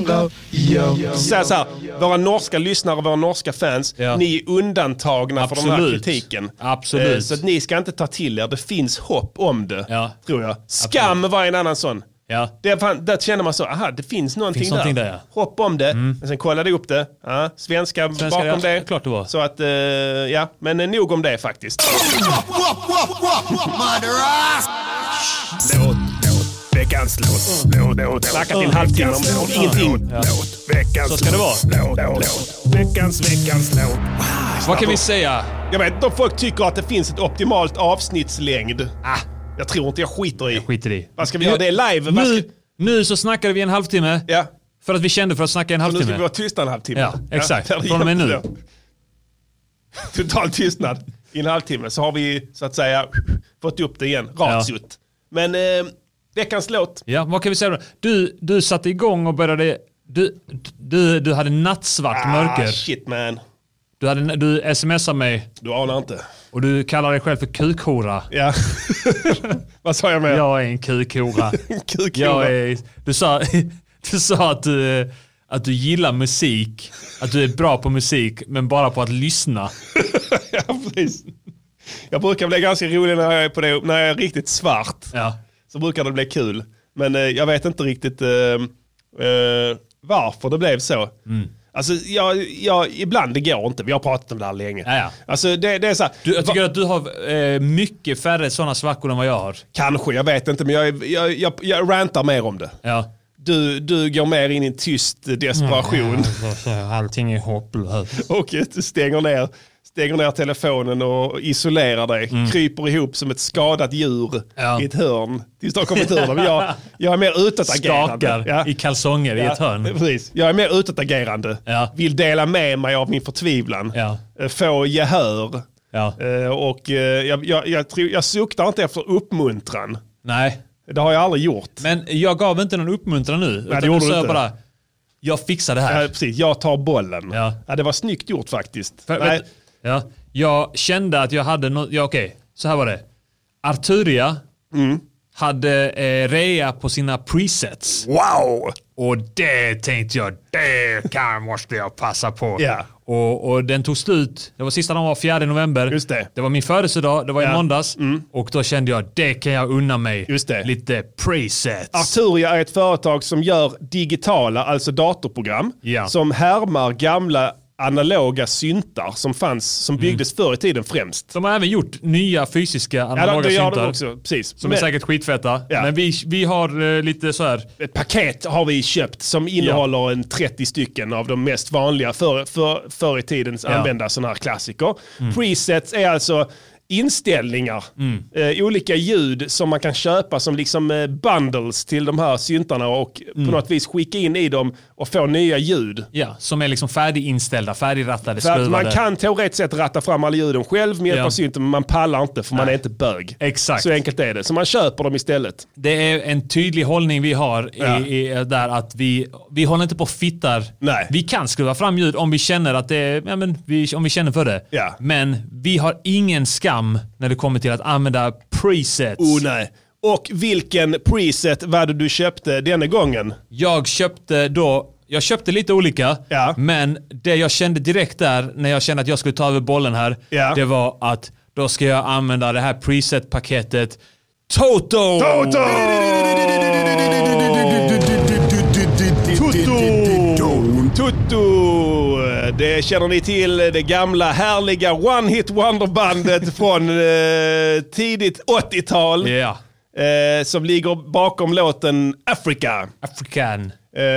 Så här, så här, våra norska lyssnare och våra norska fans,
Ja.
ni är undantagna för den här
Absolut.
kritiken.
Absolut.
Eh, Så att ni ska inte ta till er, det finns hopp om det.
Ja.
Tror jag. Skam var en annan sån.
Ja.
Det fan, där känner man så, aha det finns någonting
Finns
där.
någonting där, ja. Mm.
Hopp om det. Men sen kollade jag upp det. Ja, svenska, bakom
ja,
det.
klart det var.
Så att, eh, ja, men eh, nog om det faktiskt.
Låt, låt, veckans låt, låt, låt.
Snacka till en halvtimme om om ingenting.
Låt, veckans
Så ska det vara.
Låt, låt, låt. Veckans, veckans låt.
Vad kan vi säga?
Jag vet inte om folk tycker att det finns ett optimalt avsnittslängd. Ah, jag tror inte jag skiter i.
Skiter i.
Vad ska vi göra? Det är live. Vad
Nu,
ska-
nu så snackade vi en halvtimme.
Ja.
För att vi kände för att snacka en
Och nu ska vi
halvtimme.
vara tysta en halvtimme.
Ja, exakt.
där är
Från och med nu.
jättebra. Total tystnad i en halvtimme. Så har vi så att säga fått upp det igen. Ratiot. Men eh, veckans låt.
Ja, vad kan vi säga då? Du, du satte igång och började... Du, du, du hade nattsvart
Ah,
mörker.
shit man.
Du, hade, du smsade mig
Du anar inte.
och du kallar dig själv för kukhora.
Ja. Vad sa jag med?
Jag är en kukhora.
Kukhora.
Jag är, du sa, du sa att, du, att du gillar musik, att du är bra på musik, men bara på att lyssna.
ja, precis. Jag brukar bli ganska rolig när jag är, på det, när jag är riktigt svart.
Ja.
Så brukar det bli kul. Men eh, jag vet inte riktigt eh, eh, varför det blev så.
Mm.
Alltså, jag, jag, ibland det går inte. Vi har pratat om det här länge.
Ja, ja.
Alltså, det, det är så här,
Du, jag tycker
va-
att du har eh, mycket färre sådana svackor än vad jag har.
kanske, jag vet inte. Men jag, är- jag, jag, jag rantar mer om det.
Ja.
Du, du går mer in i en tyst
Mm.
desperation.
Allting är hopplöst.
Och du stänger ner, stänger ner telefonen och isolerar dig. Kryper ihop som ett skadat djur
Mm. Ja.
i ett hörn. Tills du har kommit ur det. Men jag, jag är mer utåtagerande.
Skakar
Ja.
i kalsonger i ett
Ja,
hörn.
precis. Jag är mer utåtagerande.
Ja.
Vill dela med mig av min förtvivlan.
Ja.
Eh, Få gehör.
Ja.
Eh, Och eh, jag, jag, jag, tror, jag suktar inte efter uppmuntran.
Nej,
Det har jag aldrig gjort.
men jag gav inte någon uppmuntran nu. utan
gjorde
du
du
sa
inte.
bara, jag fixar det
Ja,
här.
Eh, precis. Jag tar bollen.
Ja.
det var snyggt gjort faktiskt.
För,
Nej.
vet, ja, jag kände att jag hade något, ja, okej, så här var det. Arturia
Mm.
hade eh, rea på sina presets.
Wow!
Och det tänkte jag, det kan, måste jag passa på.
Ja.
Och, och den tog slut, det var sista dagen var 4 november.
Just det.
var min födelsedag, det var i
Ja. Mm.
måndags. Och då kände jag, det kan jag unna mig.
Just det.
Lite presets.
Arturia är ett företag som gör digitala, alltså datorprogram,
Ja.
som härmar gamla analoga syntar som fanns, som
Mm.
byggdes förr i tiden främst.
De har även gjort nya fysiska
Ja, de,
analoga
det gör de
syntar.
också, precis.
Som är
Men
säkert skitfeta.
Ja.
Men vi, vi har eh, lite så här
Ett paket har vi köpt som innehåller en 30 stycken av de mest vanliga för, för, förr i tidens använda sådana här klassiker.
Mm.
Presets är alltså inställningar, eh, olika ljud som man kan köpa som liksom eh, bundles till de här syntarna och
Mm.
på något vis skicka in i dem och få nya ljud.
Ja, som är liksom färdiginställda, färdigrattade,
För att
skruvade.
man kan teoretiskt sett ratta fram alla ljuden själv med hjälp
Ja.
av synten, men man pallar inte för man är inte bög.
Exakt.
Så enkelt är det. Så man köper dem istället.
Det är en tydlig hållning vi har i,
Ja.
i, eh, där att vi, vi håller inte på och fittar.
Nej.
Vi kan skruva fram ljud om vi känner att det är, ja, men vi, om vi känner för det.
Ja.
Men vi har ingen skam när det kommer till att använda presets.
Oh nej. Och vilken preset var det du köpte denna gången?
Jag köpte då, jag köpte lite olika,
Ja.
men det jag kände direkt där när jag kände att jag skulle ta över bollen här,
Ja.
det var att då ska jag använda det här preset-paketet Toto!
Toto! Toto! Det känner ni till, det gamla härliga One Hit Wonder-bandet från eh, tidigt 80-tal.
Ja.
Eh, som ligger bakom låten Africa.
African.
Eh,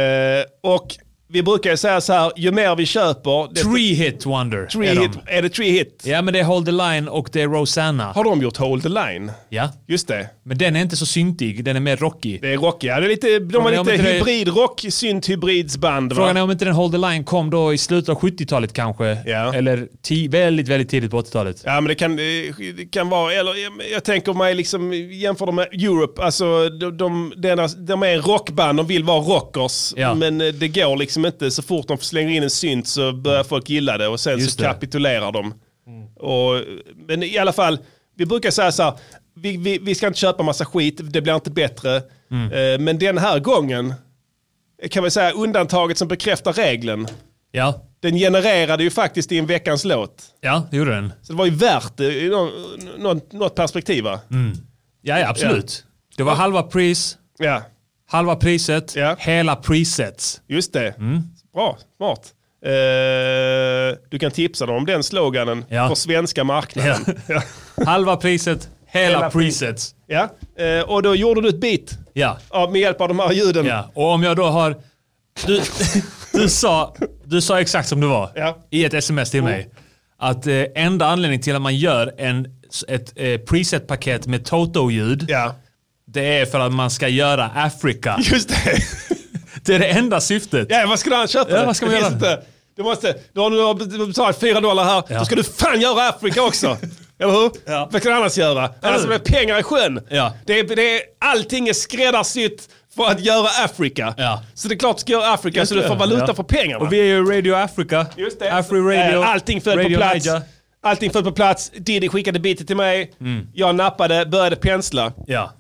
och Vi brukar ju säga så här, ju mer vi köper... desto-
Three hit wonder
three
är de.
hit. Är det three hit?
Ja men det är Hold the Line och det är Rosanna.
Har de gjort Hold the Line?
Ja.
Just det.
Men den är inte så syntig, den är mer rockig.
Det är rockiga. Det är lite, de
Frågan
har
är om
lite
inte det-
hybridrock, synt-hybridsband.
Frågan
va?
är om inte den Hold the Line kom då i slutet av 70-talet kanske.
Ja.
Eller ti- väldigt, väldigt tidigt på 80-talet.
Ja men det kan, det kan vara, eller jag tänker mig liksom, jämför dem med Europe, alltså de, de, denna, de är rockband, de vill vara rockers.
Ja.
Men eh, det går liksom inte, så fort de slänger in en synt så börjar folk gilla det och sen
Mm. Just
så
det.
kapitulerar de. Och, men i alla fall, vi brukar säga så här, vi, vi, vi ska inte köpa massa skit, det blir inte bättre.
Mm.
Eh, Men den här gången kan vi säga undantaget som bekräftar regeln.
Ja,
Den genererade ju faktiskt i en veckans låt.
ja det gjorde den.
Så det var ju värt det i nå- nå- något perspektiv va?
Mm. Ja, ja absolut. Det var halva pris,
Ja,
halva priset,
Ja.
hela presets.
just det.
Mm.
Bra, smart. Eh, du kan tipsa dem om den sloganen
Ja.
för svenska marknaden. Ja.
Halva priset, hela,
Hela pri-
presets.
ja. Eh, och då gjorde du ett beat
Ja.
ja, med hjälp av de här ljuden.
ja. Och om jag då har... Du, du, sa, du sa exakt som det var
Ja. Mm.
i ett sms till mig. Att eh, enda anledningen till att man gör en, ett eh, preset-paket med Toto-ljud
Ja.
det är för att man ska göra Afrika.
Just det.
Det är det enda syftet.
ja, Eh, vad skulle han köpa?
Ja,
det?
vad ska man
det finns
göra?
Inte. Du måste, du har, du har betalat fyra dollar här,
Ja.
då ska du fan göra Afrika också. Eller hur?
Ja.
Vad ska du annars göra? Annars är det pengar i sjön.
Ja.
Det är, det är, allting är skräddarsytt för att göra Afrika.
Ja.
Så det är klart du ska göra Afrika så du får valuta för pengarna.
Och vi är ju Radio Africa.
Just det.
Afri Radio.
Eh, Allting föll
Radio
på plats.
Niger.
Allting föll på plats. Diddy skickade beatet till mig.
Mm.
Jag nappade, började pensla.
Ja.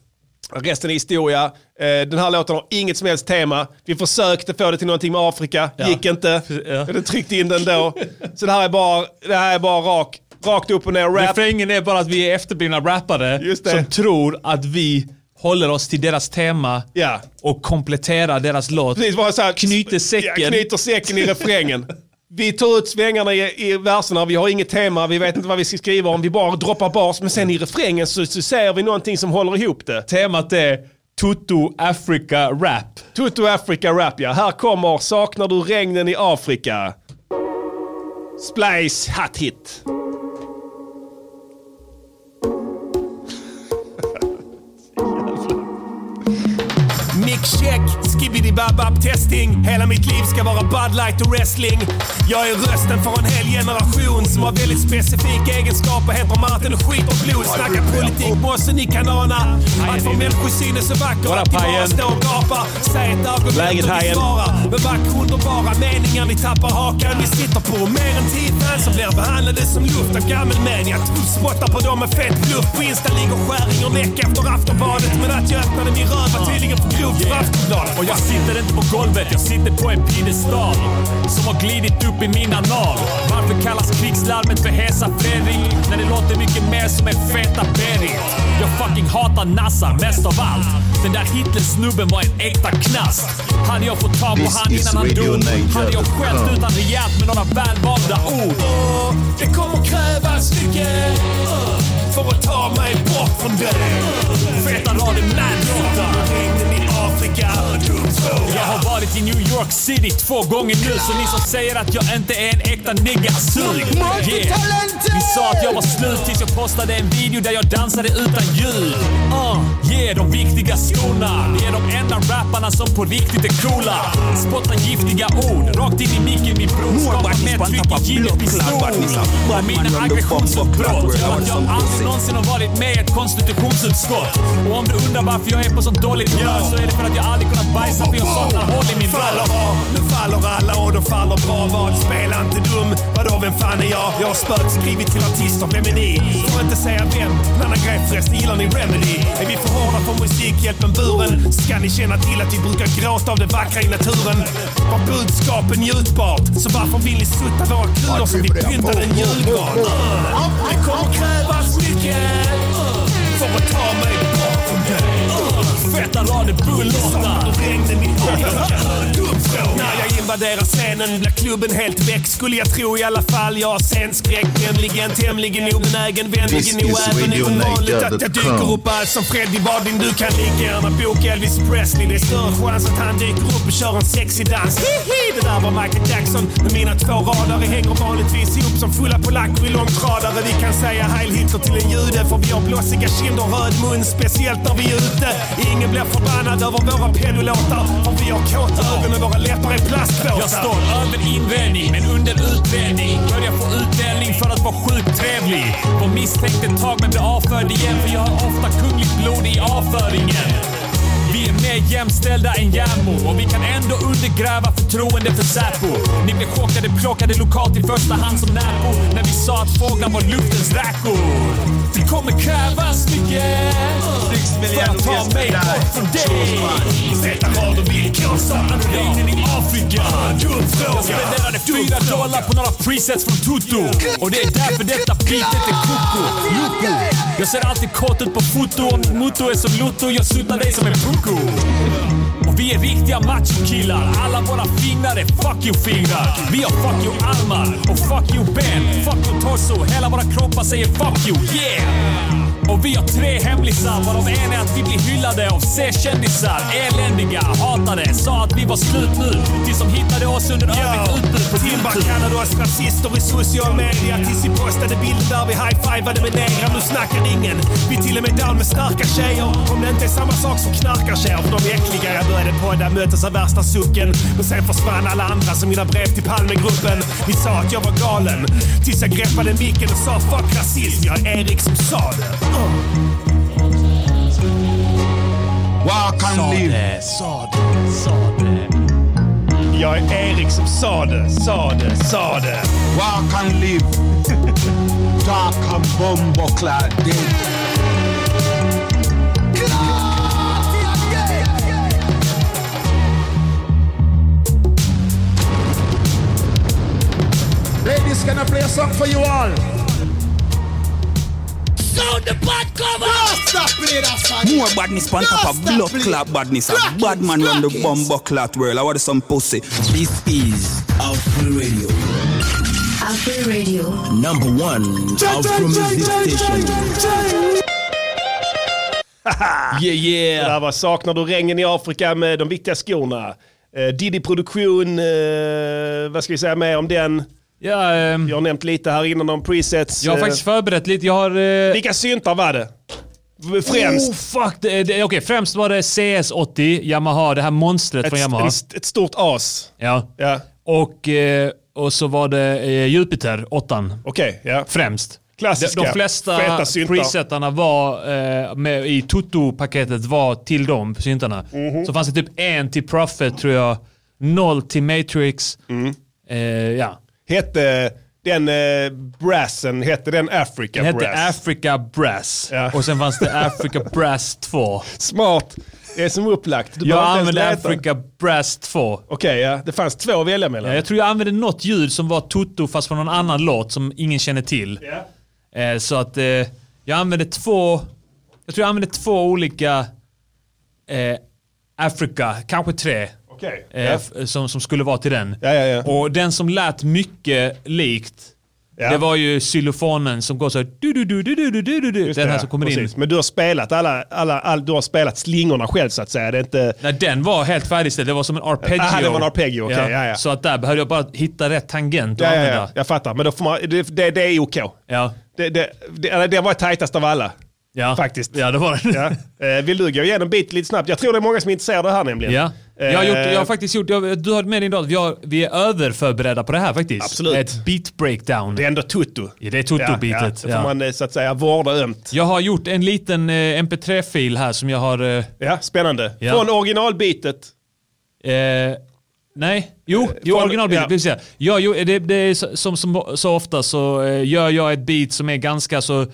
Resten är historia. Eh, Den här låten har inget som helst tema. Vi försökte få det till någonting med Afrika,
Ja.
gick inte.
Ja.
Jag tryckte in den då. Så det här är bara, det här är bara rak, rakt upp och ner rap.
Refrängen är bara att vi är efterblivna rappare
Just det.
som tror att vi håller oss till deras tema
Ja.
och kompletterar deras låt.
Precis, bara så här,
Knyter säcken.
Ja, knyter säcken i refrängen. Vi tar ut svängarna i, i verserna, vi har inget tema, vi vet inte vad vi ska skriva om, vi bara droppar bas. Men sen i refrängen så, så säger vi någonting som håller ihop det.
Temat är Toto Africa Rap.
Toto Africa Rap ja. Här kommer Saknar du regnen i Afrika? Splice Hot Hit.
Mic check, skibidi babab testing. Hela mitt liv ska vara Bud Light och wrestling. Jag är rösten för en hel generation som har väldigt specifika egenskaper. Heter Martin och skiter blod. Snackar politik, mossen i kanana. Att få människosyn är så vacker att vi bara
Pajen?
står och gapar. Säg ett argument
Läget,
och vi
Hajen?
svarar. Med vacker underbara meningar vi tappar hakan. Vi sitter på mer än tio fans som blir behandlade som luft av gammelmän. Jag spottar på dem med fet bluff. På Insta ligger skäringer näck efter Aftonbladet. Men att jag öppnade min röv var tydligen för grovt för Aftonbladet. Och jag sitter inte på golvet, jag sitter på en piedestal. Som har glidit upp i min anal. Varför kallas krigslarmet för Hesa Fredrik? När det låter mycket mer som en feta Berit. Jag fucking hatar Nassa mest av allt. Den där Hitler-snubben var en äkta knast. Hade jag fått tag på
This
han
is
innan han
Radio
dog
Niger.
hade jag skällt ut han rejält med några välvalda ord. Det kommer krävas mycket uh, för att ta mig bort från dig. Feta raden Manhattan. Regnen i Afrika, dum fråga. Jag har varit i New York City två gånger nu, så ni som säger att jag inte är en äkta nigga, sug! Yeah. Ni sa att jag var slut tills jag postade en video där jag dansade utan ljud. Uh, yeah, de viktiga skorna. Ni är de enda rapparna som på riktigt är coola. Spottar giftiga ord rakt in i micken, min bror. Skapar mer tryck i Gillets pistol. Och Mina aggressionsutbrott gör att jag aldrig någonsin har varit med i ett konstitutionsutskott. Och om du undrar varför jag är på sånt dåligt humör så är det för att jag aldrig kunnat bajsa för jag saknar hål i min röv. Nu faller alla och de faller bra. Vad spelar inte dum? Vadå, vem fan är jag? Jag har spökskrivit till artister, vem är ni? Får inte säga vem. En annan grej förresten, gillar ni Remedy? Är vi för hårda för Musikhjälpen buren? Ska ni känna till att vi brukar gråta av det vackra i naturen? Var budskapen njutbart? Så varför vill ni sutta våra kulor som vi pyntade en julgran? Uh, Det kommer krävas mycket uh, för att ta mig bort från dig. Uh, Feta rader bullåtar. Regnen i ögonen. När jag invaderar scenen blir klubben helt väck skulle jag tro i alla fall. Jag har scenskräck, nämligen tämligen obenägen,
This
vänligen
is
oäven.
Radio
Ovanligt att jag dyker
Niger.com.
upp här som Freddie Wadin. Du kan lika gärna boka Elvis Presley. Det är större chans att han dyker upp och kör en sexig dans. Hihi,
det där var Michael Jackson. Men mina två radare hänger vanligtvis ihop som fulla polacker i långtradare. Vi kan säga Heil Hitler till en jude för vi har blåsiga kinder och röd mun. Speciellt när vi är ute. Ingen blir förbannad över våra pedolåtar. För vi har kåta ögon och våra läppar är
Jag
plastblåsta.
står över invändig, men under utvändig. Börjar få utdelning för att vara sjukt trevlig. Var misstänkt ett tag, men blir avförd igen. För jag har ofta kungligt blod i avföringen. Vi är mer jämställda än järnmor och vi kan ändå undergräva förtroende för Säpo. Ni blev chockade, plockade lokalt i första hand som närbo när vi sa att fåglar var luftens räkor. Det kommer krävas mycket för att ta mig bort från dig.
Feta rader, villkor, sanna
Regnen i Afrika.
Dum
Jag
fråga.
spenderade fyra dollar på några presets från Tutu. Och det är därför detta beatet är koko. Loko. Jag ser alltid kort ut på foto. Om ditt motto är som Lotto, jag suttar dig som en pucko. Och vi är riktiga machokillar. Alla våra fingrar är fuck you-fingrar. Vi har fuck you-armar och fuck you-ben. Fuck you-torso. Hela våra kroppar säger fuck you, yeah! Och vi har tre hemlisar varav en är att vi blir hyllade av C-kändisar. Eländiga, hatade, sa att vi var slut nu. Tills de hittade oss under övrigt utbud på
Timbar
Youtube.
kallade oss rasister i social media tills vi postade bilder där vi high-fivade med negrar. Nu snackar ingen. Vi är till och med down med starka tjejer. Om det inte är samma sak som knarkartjejer. För de är äckliga. Jag började podda, möttes av värsta sucken. Men sen försvann alla andra som mina brev till Palmegruppen. Ni sa att jag var galen. Tills jag greppade micken och sa fuck rasism. Jag är Erik som sa det. Uh.
Walk and live.
Jag är Erik som sa det, sa det, sa det.
Walk and live. Talk and bumbo clad dead.
Ladies, can I play a song for you all?
More badness on top of blood clot badness. A bad man run the bumbo clot world. I want some pussy. This is Outfree Radio.
Afro Radio.
Number one. Outfree Music Station.
Ah.
Yeah
Det
yeah.
där var Saknar du regnen i Afrika med de viktiga skorna? Eh, Diddy Produktion, eh, vad ska vi säga mer om den?
Ja, ehm,
Jag har nämnt lite här innan om presets.
jag har
eh,
faktiskt förberett lite. Jag har... eh,
Vilka syntar var det? Främst.
Oh, fuck. Det, det, okej, främst var det CS80, Yamaha, det här monstret från
ett,
Yamaha.
en- ett stort as.
Ja.
Ja,
Och, eh, och så var det eh, Jupiter, 8
okej. ja.
främst.
Klassiska,
De, de flesta
feta syntar.
presetarna var, eh, med, i Toto-paketet var till de syntarna.
Mhm.
Så fanns det typ en till Prophet tror jag, noll till Matrix.
Mm.
Eh, ja.
Hette den eh, brassen, hette den Africa
Den hette
Brass?
Africa Brass.
Ja.
Och sen fanns det Africa Brass 2.
Smart. Det är som upplagt. Du
Jag
behöver inte ens
använde
leta.
Africa Brass 2.
Okej, ja. Det fanns två att välja mellan.
Ja, Eh, Jag tror jag använde något ljud som var Toto fast på någon annan låt som ingen känner till. Eh, Så att eh, jag använde två, jag tror jag använde två olika eh, Africa, kanske tre.
Okej.
eh,
Ja.
f- Som, som skulle vara till den.
Ja, ja, ja.
Och den som lät mycket likt,
Ja.
det var ju xylofonen som går så här, du, du, du, du, du, du, du, du,
Just
Den
det,
här
ja.
som kommer
Precis.
in.
Men du har spelat alla, alla, all, du har spelat slingorna själv så att säga. Det är inte...
Nej, den var helt färdigställd. Det var som en arpeggio.
Aha, det var en arpeggio, okej, ja, ja.
Så att där behövde jag bara hitta rätt tangent att
Ja, ja,
använda.
ja. Jag fattar, men då får man, det, det, det är OK.
Ja.
Det, det, det, eller det var tajtast av alla.
Ja.
Faktiskt.
Ja, det var den.
Ja. Eh, Vill du gå igenom bit lite snabbt? Jag tror det är många som är intresserade av det här nämligen.
Ja. Jag har, gjort, jag har
Eh,
faktiskt gjort, jag, du har med dig idag, vi, har, vi är överförberedda på det här faktiskt.
Absolut.
Ett beat breakdown.
Det är ändå tutto.
Ja, det är tutto-bitet,
Ja, ja. Det får
ja.
man eh, så att säga vårda ömt.
Jag har gjort en liten eh, mp3-fil här som jag har... Eh,
Ja, spännande.
Ja.
Från originalbitet.
eh, nej, jo, jo
från-
originalbitet.
ja.
precis, Eh, Ja. Ja, jo, det, det är så- som, som så ofta så eh, gör jag ett beat som är ganska så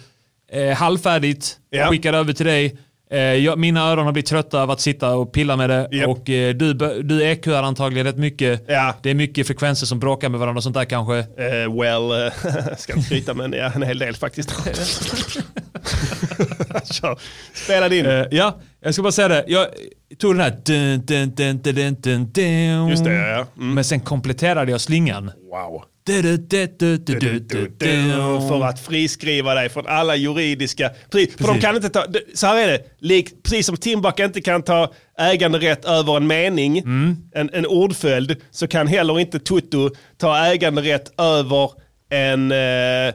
eh, halvfärdigt.
Ja.
Skickar över till dig. Eh, jag, mina öron har blivit trötta av att sitta och pilla med det.
Japp.
Och eh, du, bö- du EQar antagligen rätt mycket.
Ja.
Det är mycket frekvenser som bråkar med varandra och sånt där kanske.
Eh, well, eh, ska inte skryta men ja, en hel del faktiskt. Kör. Spela din.
Eh, ja, jag ska bara säga det. Jag tog den här... Dun, dun, dun, dun, dun, dun, dun.
Just det, ja, ja.
Men sen kompletterade jag slingan.
Wow.
Du, du, du, du, du, du, du, du.
För att friskriva dig från alla juridiska... Precis, för de kan inte ta... Så här är det, Lik, precis som Timbuk inte kan ta äganderätt över en mening,
Mm.
en, en ordföljd, så kan heller inte Toto ta äganderätt över en, eh,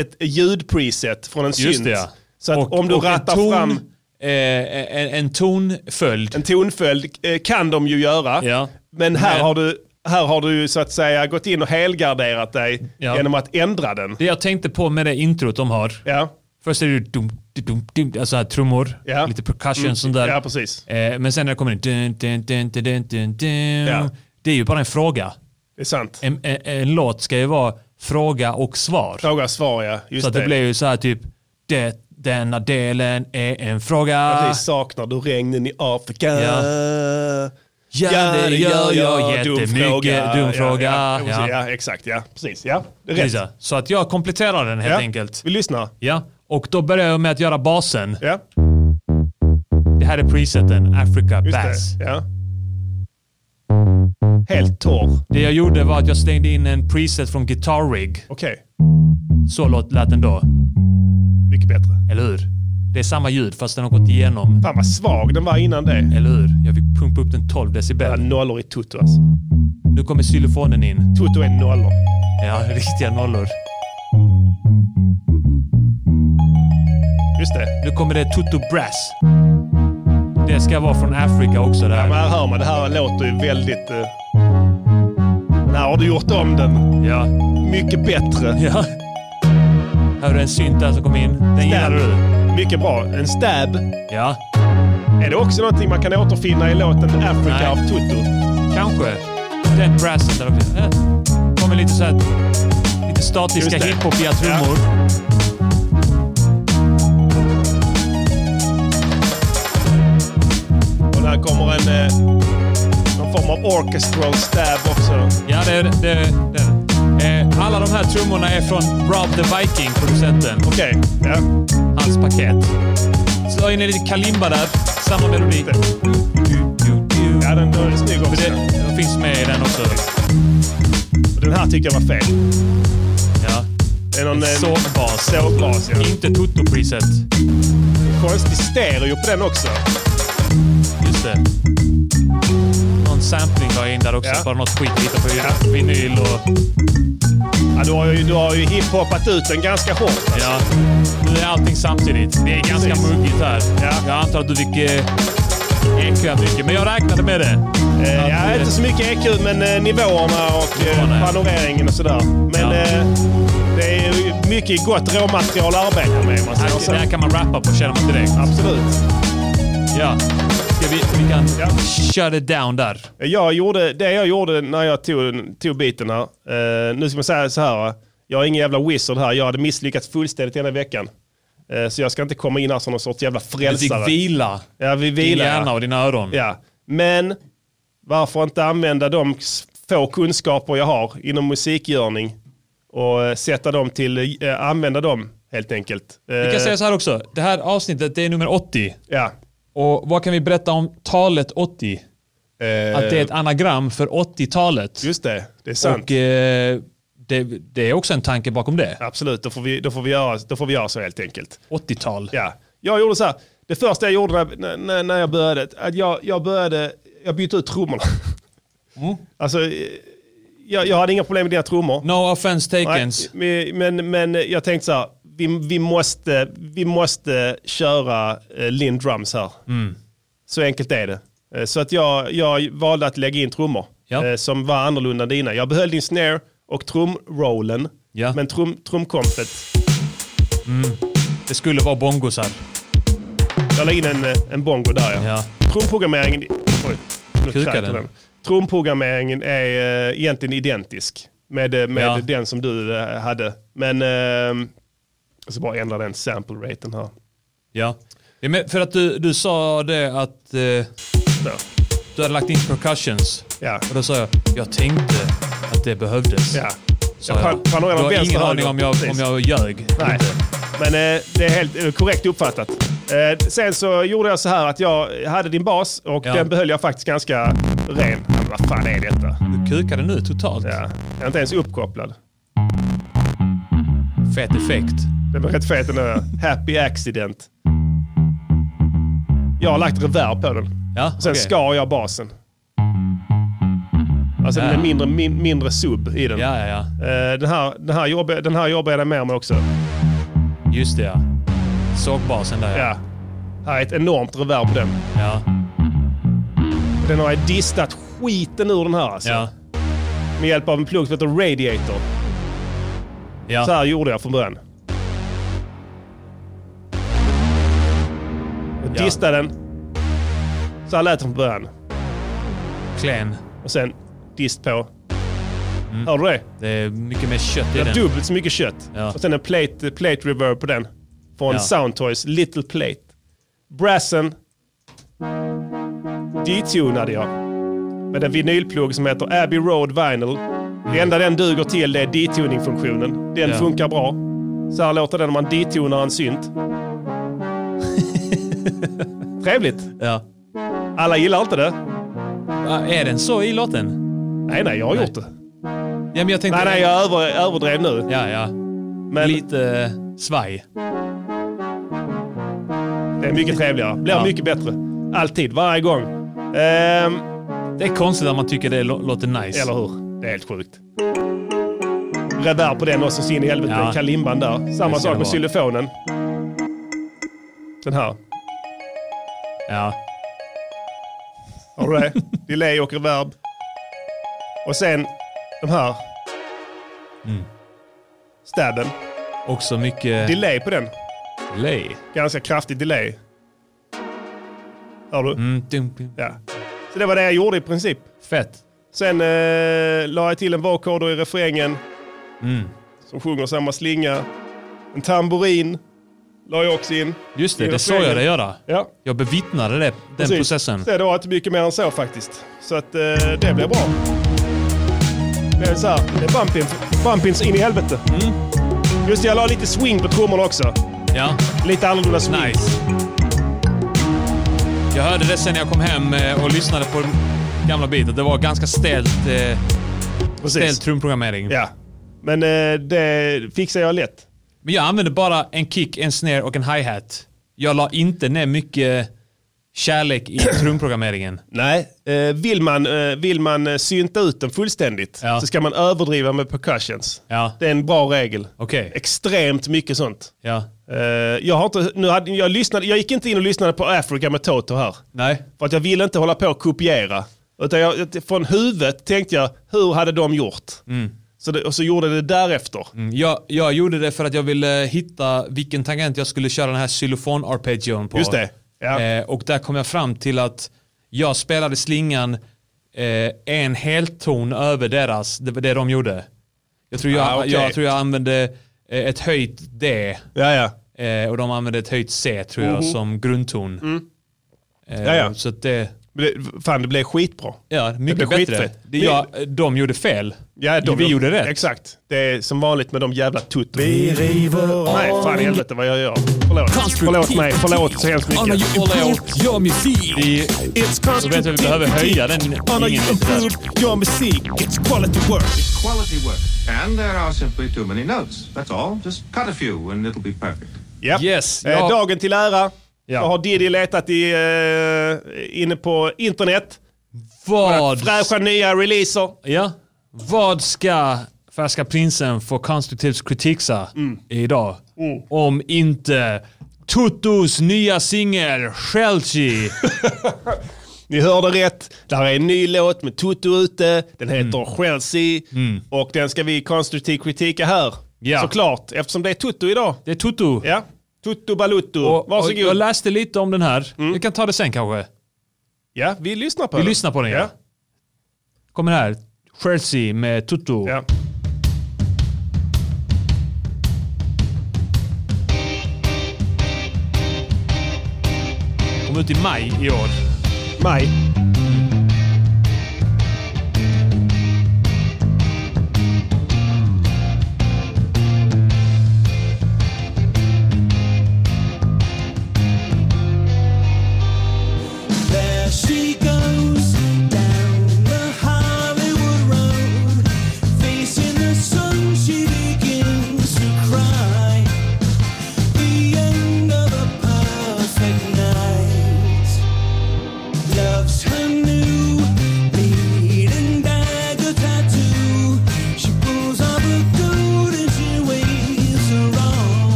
ett ljudpreset från en
Just
synt.
det ja.
Så att om du
en
rattar
ton,
fram
eh, en, en tonföljd.
en tonföljd eh, kan de ju göra,
Ja.
men här
Men-
har du här har du ju så att säga gått in och helgarderat dig
Ja.
genom att ändra den.
Det jag tänkte på med det introt de har.
Ja,
Först är det ju dum, dum, dum, dum, alltså här trummor,
Ja.
lite percussion
Mm,
sånt där.
ja, precis.
Eh, men sen när det kommer in, dun, dun, dun, dun, dun, dun, dun,
Ja.
det är ju bara en fråga.
det är sant.
En, en, en låt ska ju vara fråga och svar.
Fråga svar ja, just
så att det. blir ju så här typ, det, denna delen är en fråga.
Precis, saknar du regnen i Afrika?
Ja. Ja, det gör jag jättemycket. Dum fråga.
Ja, ja,
Ja.
precis, ja, exakt. Ja, precis. Ja, det är
Precis,
rätt.
ja. Så att jag kompletterar den helt
Ja.
enkelt.
Vi lyssnar.
Ja, och då börjar jag med att göra basen.
Ja,
Det här är preseten, Africa
just
Bass.
det. Ja. Helt torr.
Det jag gjorde var att jag slängde in en preset från Guitar Rig.
Okej,
Så låt, lät den då,
mycket bättre.
eller hur? Det är samma ljud fast den har gått igenom,
Fan vad svag den var innan det.
eller hur? Jag fick pumpa upp den 12
Ja,
decibel.
nollor i Toto alltså.
Nu kommer xylofonen in.
Toto är nollor.
Ja, riktiga nollor.
Just det.
Nu kommer det Tutu Brass. Det ska vara från Afrika också
Ja, men
där.
här hör man, det här låter ju väldigt... Uh... Här har du gjort om den.
Ja.
Mycket bättre.
ja. Här har du en synt där som kom in. Den gillar du.
Mycket bra. En stab.
Ja,
Är det också någonting man kan återfinna i låten Africa
Nej.
av Toto?
kanske. Den brassen där också. Eh, Kommer lite så här, lite statiska
Just det.
hiphopiga trummor.
Och där kommer en... Eh, någon form av orchestral stab också.
Ja, det är det. det, är det. Eh, alla de här trummorna är från Rob the Viking, producenten. Och
Okej, ja.
hans paket. Slå in lite kalimba där. Samma melodi.
Det. Ja, den, den är snygg
För
också.
det, det finns med i den också.
Den här tyckte jag var fel.
Ja.
Det är någon eh,
Sågbas.
sågbas, ja.
Inte Toto-preset.
Konstig stereo på den också.
Just det. Någon sampling var in där också.
Ja.
Bara något skit lite på
Ja.
vinyl och...
Ja, du har ju, du har ju hiphopat ut den ganska hårt. Alltså.
Ja. Nu är allting samtidigt. Det är ganska
Precis.
muggigt här.
Ja.
Jag antar att du fick eh, EQ mycket, men jag räknade med det.
Eh,
Ja,
ja,
det-
inte så mycket EQ, men eh, nivåerna och eh,
Nivåerna, ja.
panoreringen och sådär. Men
Ja.
eh, det är ju mycket gott råmaterial att arbeta med, om man säger
Här,
så.
det här kan man rappa på känner man direkt.
Absolut.
Ja. Ska vi, vi kan
Ja.
shut it down där.
Eh, Jag gjorde, det jag gjorde när jag tog, tog biten här. Eh, nu ska man säga så här. va. Jag är ingen jävla wizard här. Jag hade misslyckats fullständigt hela veckan. Eh, så jag ska inte komma in här som någon sorts jävla
Du fick
frälsare.
vila
ja, vi
din
vilar.
hjärna
ja. Eh.
och dina öron.
Ja. Men varför inte använda de s- få kunskaper jag har inom musikgörning och eh, sätta dem till, eh, använda dem helt enkelt. Eh,
Vi kan säga så här också. Det här avsnittet det är nummer 80.
Ja.
Och vad kan vi berätta om talet 80?
Eh,
Att det är ett anagram för 80-talet.
Just det, det är sant.
Och eh, det, det är också en tanke bakom det.
Absolut, då får, vi, då, får vi göra, då får vi göra så helt enkelt.
80-tal.
Ja, jag gjorde så här. Det första jag gjorde när- när, när, när jag började, att jag, jag började, jag bytte ut trummorna.
Mm.
Alltså, eh, jag, jag hade inga problem med dina trummor.
No offense
Nej,
taken.
men, men, men jag tänkte så här, vi, vi, måste, vi måste köra eh, Linn Drums här.
Mm.
Så enkelt är det. Eh, Så att jag, jag valde att lägga in trummor
Ja.
eh, som var annorlunda än dina. Jag behöll din snare och trumrollen,
Ja.
men trum, trumkompet.
Det skulle vara bongosar.
Jag la in en, eh, en bongo där ja.
Ja.
Trumprogrammeringen... Oj, nu
Kukar
kräkte
den.
den. Trumprogrammeringen är eh, egentligen identisk med, eh, med
Ja.
den som du eh, hade. Men... Eh, jag ska bara ändra den sample-raten här.
Ja. Ja, men för att du, du sa det att eh,
Så.
du hade lagt in percussions.
Ja.
Och då sa jag, jag tänkte att det behövdes.
Ja.
Sa
Jag pan-
jag.
panorerar
Du har
vänster
ingen
höger.
aning om jag,
Precis.
om jag ljög.
Nej.
Inte.
Men eh, det är helt eh, korrekt uppfattat. Eh, sen så gjorde jag så här att jag hade din bas och
Ja.
den behöll jag faktiskt ganska ren. Ja, Men vad fan är detta?
Du kukade nu totalt.
Ja, jag är inte ens uppkopplad.
Fet effekt.
Den är rätt fet den där. Happy accident. Jag har lagt reverb på den.
Ja,
Sen
okej.
skar jag basen. Alltså
Ja.
den är mindre, min, mindre sub i den.
Ja, ja, ja.
Eh, den, här, den, här jobbar, den här jobbar jag med mer med också.
Just det ja. Sågbasen där ja.
Ja. Här är ett enormt reverb på den.
Ja.
Den har jag distat skiten ur den här alltså.
Ja.
Med hjälp av en plugg som heter Radiator.
Ja.
Så här gjorde jag från början. Jag
Ja.
distade den. Så här lät den från början.
Klen.
Och sen dist på. Hör du det?
Det Mm. är mycket mer kött i
Det är
den.
dubbelt så mycket kött.
Ja.
Och sen en plate, plate reverb på den. Från
Ja.
Soundtoys Little Plate. Brassen detunade jag. Med en vinylplugg som heter Abbey Road Vinyl. Det enda den duger till det är detuning-funktionen. Den
Mm. Ja.
funkar bra. Så här låter den om man detunar en synt. Trevligt.
Ja.
Alla gillar inte det.
Ah, Är den så i låten?
Nej, nej, jag har
Nej.
gjort det.
Ja, men jag
Nej,
tänkte...
nej, jag över, överdrev nu.
Ja, ja.
Men
Lite eh, svaj.
det är mycket trevligare. Blir
Ja.
mycket bättre. Alltid, varje gång. Ehm,
Det är konstigt att man tycker det lå- låter nice.
Eller hur? Det är helt sjukt. Reverb på den också så in i helvete.
Ja.
Kalimban där. Samma
Det ska
sak
det
med
vara.
xylofonen. Den här.
Ja.
Har du det? Delay och reverb. Och sen de här.
Mm.
Stabben.
Också mycket
Delay på den.
delay.
Ganska kraftig delay. Hör du?
Mm, dum, dum.
Ja. Så det var det jag gjorde i princip.
Fett.
Sen eh, la jag till en vocoder i refrängen
Mm.
som sjunger samma slinga. En tamburin la jag också in.
Just
i
det, det såg
refrängen.
jag dig göra.
Ja,
Jag bevittnade det, den
precis.
processen.
Så det var inte mycket mer än så faktiskt. Så att eh, det blev bra. Det är så här, det är bumpins, bumpins in i helvete.
Mm.
Just det, jag la lite swing på trummorna också.
Ja,
Lite annorlunda swing.
nice. Jag hörde det sen när jag kom hem eh, och lyssnade på den gamla beatet. Det var ganska stelt, eh, stelt
Precis.
trumprogrammering.
Ja. Men eh, det fixar jag lätt.
Men jag använde bara en kick, en snare och en hi-hat. Jag la inte ner mycket kärlek i trumprogrammeringen.
Nej, eh, vill man, eh, vill man eh, synta ut den fullständigt
Ja.
så ska man överdriva med percussions.
Ja.
Det är en bra regel.
Okej.
Extremt mycket sånt.
Ja.
Eh, jag, har inte, nu hade, jag, lyssnade, jag gick inte in och lyssnade på Africa med Toto här.
Nej.
För att jag ville inte hålla på och kopiera. Utan jag, från huvudet tänkte jag, hur hade de gjort?
Mm.
Så det, och så gjorde jag det därefter.
Jag, jag gjorde det för att jag ville hitta vilken tangent jag skulle köra den här xylofon arpeggion på.
Just det, ja.
Eh, och där kom jag fram till att jag spelade slingan eh, en helton över deras, det, det de gjorde. Jag tror jag,
Ah, okej.
jag, tror jag använde eh, ett höjt D
Ja, ja.
eh, och de använde ett höjt C tror
Mhm.
jag som grundton.
Mm.
Eh,
Jaja.
Så att det,
Men det- Fan, det blev skitbra.
ja, mycket
blev
bättre.
skitfett.
Det, jag, de gjorde fel.
Ja, de,
vi gjorde rätt.
Exakt. Det är som vanligt med de jävla tuttorna. Vi river Nej, fan i helvete vad jag gör. Förlåt. Förlåt mig. Förlåt så hemskt mycket.
Förlåt. Your music. Vi, så vet vi att vi behöver höja den ingen lite.
your music. It's quality work.
quality work. And there are simply too many notes. That's all. Just cut a few and it'll be perfect.
Yep.
Yes,
Eh,
ja.
Dagen till ära.
Ja.
Jag har Diddy letat i, eh, inne på internet.
Vad,
Fräscha nya releaser.
ja, vad ska Färska Prinsen få konstruktivt kritiksa
Mm.
idag?
Oh.
Om inte Tutus nya singel Shelchi.
Ni hörde rätt. Där är en ny låt med Toto ute. Den heter
Mm.
Chelsea. Och den ska vi konstruktiv kritika här.
Ja.
Såklart, eftersom det är Toto idag.
Det är Tutu.
Ja. Tutto Balutto.
Och, och
Varsågod. Mm.
jag läste lite om den här. Jag kan ta det sen kanske.
ja, vi lyssnar på
Vi
den.
lyssnar på den. Ja. Kommer här. Shelchi med Tutu.
Ja.
Kom ut i maj i år.
Maj.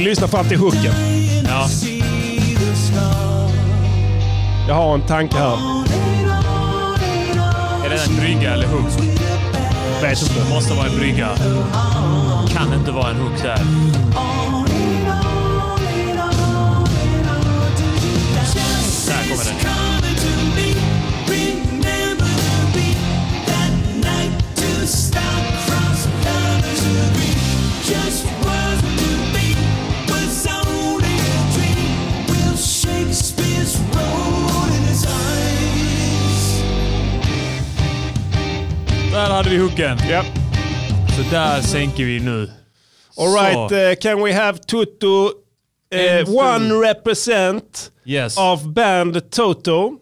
lyssna fram till hooken.
Ja.
Jag har en tanke här.
Är det en brygga eller hook?
Vet inte.
Måste vara en brygga. Kan inte vara en hook där. Där kommer den.
Shakespeare's road in his eyes.
Där hade vi hooken. Så där sänker vi nu.
All right,
Så.
eh, can we have Toto eh,
En
one represent
Yes.
of band Toto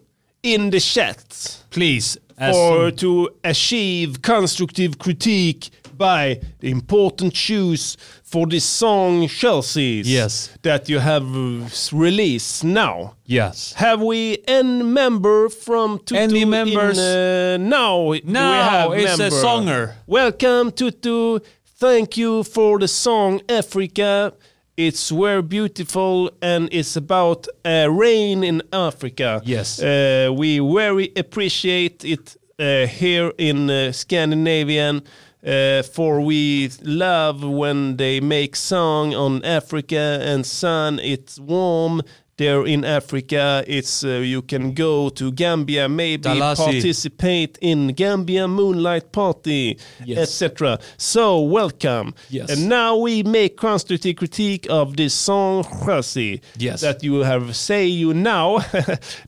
in the chat?
Please. as-
or to achieve constructive critique by the important shoes for this song Chelsea's
Yes.
that you have uh, s- released now.
Yes.
Have we any member from Tutu
Any
in,
members?
uh, now, we
Now
have
it's a
member.
songer.
Welcome Tutu. Thank you for the song Africa. It's very beautiful and it's about uh, rain in Africa.
Yes.
Uh, we very appreciate it uh, here in uh, Scandinavian, uh, for we love when they make song on Africa and sun. It's warm there in Africa. It's uh, you can go to Gambia, maybe
Dalasi.
participate in Gambia Moonlight Party,
Yes.
etc. So welcome.
Yes.
And now we make constructive critique of this song Chelsea
Yes.
that you have say you now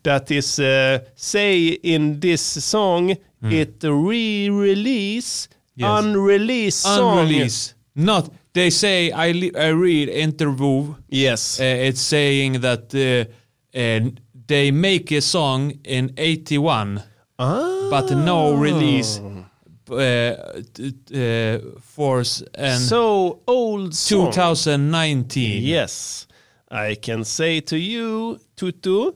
that is uh, say in this song it re-release
Hmm. Yes.
unreleased song
unrelease. Not they say I, li- I read interview.
yes
Uh, it's saying that uh, uh, they make a song in 81 but no
Ah.
release uh, t- uh, force and
so old song
2019.
yes I can say to you Tutu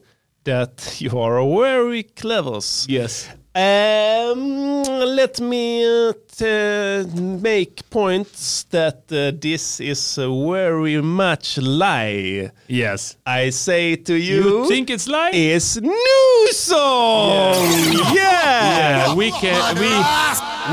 that you are very clever
Yes.
Um, let me uh, t- make points that uh, this is uh, very much lie.
Yes.
I say to you,
You think it's like?
it's new song. Yeah,
Yeah, we can we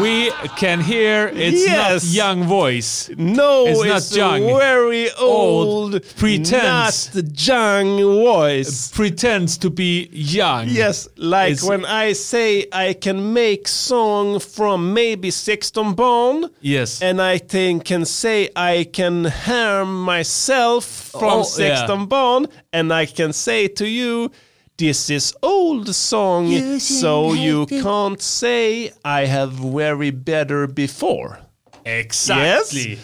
we can hear it's
Yes.
not young voice.
no,
It's
it's,
not young.
very
Old,
old,
pretense.
not young voice.
Pretends to be young.
Yes, like
It's-
when I say I can make song from maybe Sexton Bone.
Yes.
and I think can say I can harm myself from
Oh,
Sexton
yeah.
Bond, and I can say to you, this is old song, so you can't say I have very better before.
exactly.
Yes.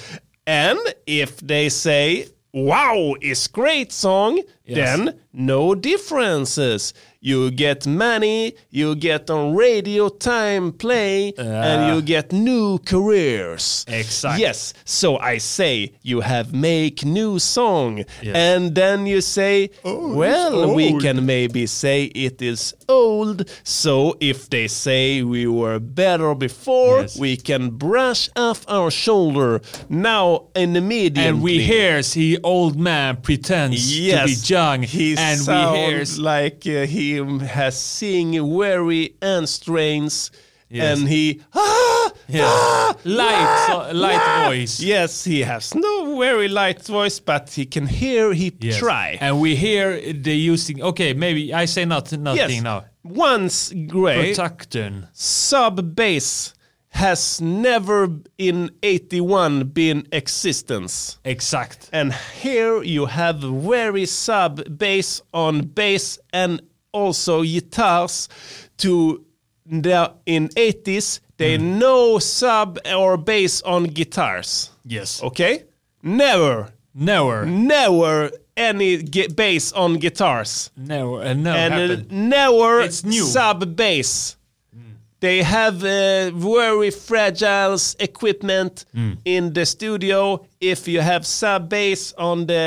And if they say, wow, it's great song, then no differences. You get money, you get on radio time play, and you get new careers.
Exakt.
Yes. So I say you have make new song, and then you say, well, we can maybe say it is old. So if they say we were better before,
Yes.
we can brush off our shoulder now in the media.
And we hears he old man pretends
Yes,
to be young.
He
and
sound
we hears
like uh, he has sing very and strains,
Yes.
and he ah,
Yeah.
ah,
light so, light
ah.
voice.
Yes, he has no very light voice, but he can hear. He
Yes.
try.
And we hear they using okay, maybe I say not nothing
yes,
now.
once great
Protecton.
sub bass has never in eighty one been existence.
Exakt.
And here you have very sub bass on bass and also guitars to the in 80s they no sub or bass on guitars.
Yes.
Okay? Never Mm-hmm.
Never.
never any gi- bass on guitars.
Never. Uh, never
and uh,
happened.
never
It's new.
sub bass. They have uh, very fragile s- equipment
Hmm.
in the studio. If you have sub bass on the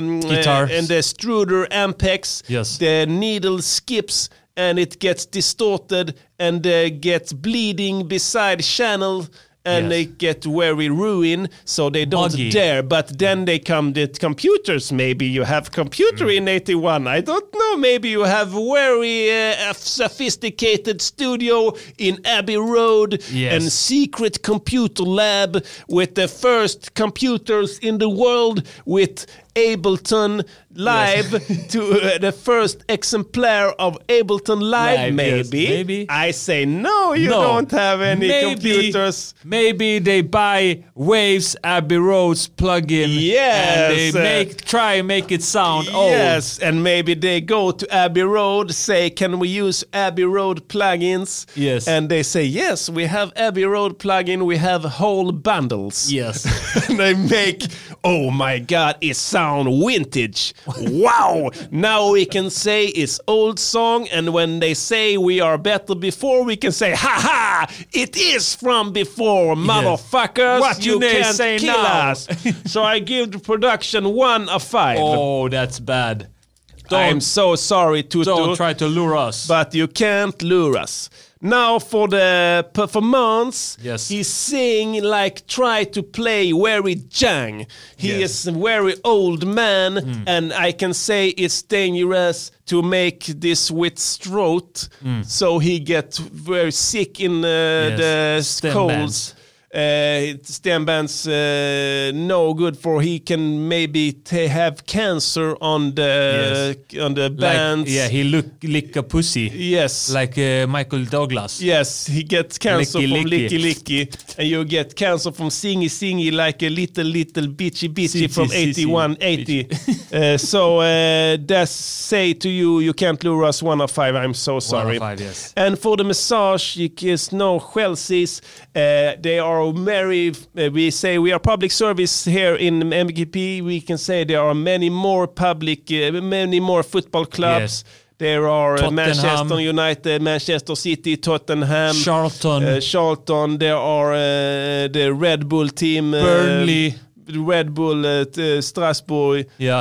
um, uh,
Guitars.
and the Struder Ampex,
Yes.
the needle skips and it gets distorted and uh, gets bleeding beside channel and they get very ruined, so they don't
Buggy.
dare. But then they come the computers. Maybe you have computer
Hmm.
in eighty one. I don't know. Maybe you have very uh, sophisticated studio in Abbey Road
Yes.
and secret computer lab with the first computers in the world with Ableton Live to uh, the first exemplar of Ableton Live,
Live, yes,
maybe.
maybe.
I say no, you
No.
don't have any
Maybe-
computers.
Maybe they buy Waves Abbey Roads plugin and they
Yes, uh,
make try and make it sound old.
Yes, and maybe they go to Abbey Road, say, "Can we use Abbey Road plugins?"
Yes.
and they say, "Yes, we have Abbey Road plugin. We have whole bundles."
Yes.
and they make, "Oh my God, it sound vintage! Wow! now we can say it's old song, and when they say we are better before, we can say, "Ha ha! It is from before, motherfuckers!
What you they
can't
say
kill
now."
us!" so I give the production one of five.
Oh, that's bad.
I'm
Don't-
so sorry, Tutu.
Don't try to lure us.
But you can't lure us. Now for the performance,
Yes.
he sing like try to play very jang. He is a very old man,
Mm.
and I can say it's dangerous to make this with throat.
Mm.
So he get very sick in uh, the
Stem
colds.
bands.
Uh, it- stem bands uh, no good for he can maybe t- have cancer on the on the
Like-
bands.
yeah, he look lick a pussy
Yes.
like uh, Michael Douglas.
Yes, he gets cancer
Licky,
from
licky.
licky licky, and you get cancer from singy singy like a little little bitchy bitchy
Sitchy,
from
sitchy,
8180. uh, so uh, that's say to you, you can't lure us one of five. I'm so sorry.
five, yes.
And for the massage, you kiss no Chelsea's. Uh, they are very. Uh, we say we are public service here in MGP. We can say there are many more public, uh, many more football clubs.
Yes.
There are uh,
Tottenham.
Manchester United, Manchester City, Tottenham,
Charlton.
uh, Charlton. There are uh, the Red Bull team, uh,
Burnley.
Red Bull uh, t- uh, Strasbourg.
Yeah.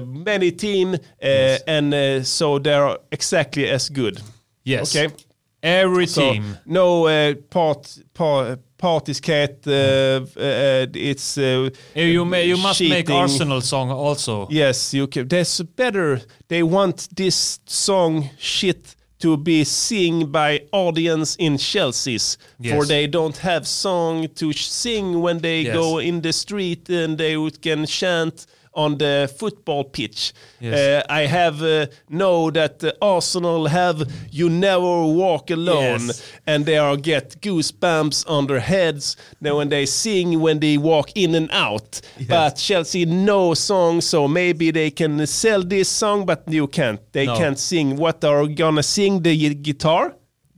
Uh, many team, uh, and uh, so they are exactly as good.
yes.
Okay.
Every
So
team.
no uh, part part partiscat. Uh, uh, it's uh,
You, you, may, you must make
cheating.
Arsenal song also.
Yes, you can. There's better. They want this song shit to be sing by audience in Chelsea's, for
Yes.
they don't have song to sh- sing when they
Yes.
go in the street and they would can chant on the football pitch.
Yes.
Uh, I have uh, know that uh, Arsenal have you never walk alone,
Yes.
and they are get goosebumps on their heads now when they sing when they walk in and out. But Chelsea no song, so maybe they can sell this song, but you can't. They
No.
can't sing. What are gonna sing the y- guitar?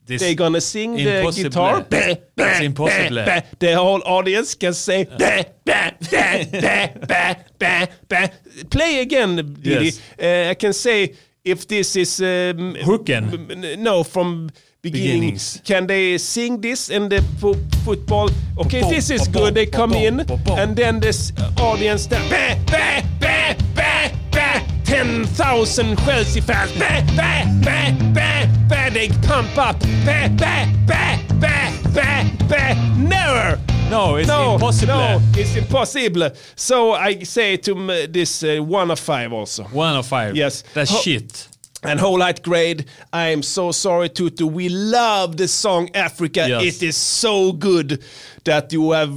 This-
They gonna sing the
Impossible.
guitar. Bäh, bäh,
It's impossible.
bäh, bäh. The whole audience can say bäh, bäh, bäh, bäh, bäh, bäh, bäh. Play again, Didi.
Yes.
Uh, I can say if this is um,
Hooken.
m- m- No, from beginning.
Beginnings.
Can they sing this in the fo- football? Okay,
Ba-boom,
this is
ba-boom,
good. They come
ba-boom,
in,
ba-boom.
and then this uh, audience. That, bah, bah, bah, bah, bah. 10,000 Chelsea fans. Bah, bah, bah, bah, bah. They pump up. Bah, bah, bah, bah, bah, bah. Never
No, it's impossible.
no, it's impossible. So I say to m- this uh, one of five also.
One of five.
Yes.
That's
Ho-
shit.
And whole light grade, I am so sorry, Tutu. We love the song Africa.
Yes.
It is so good that you have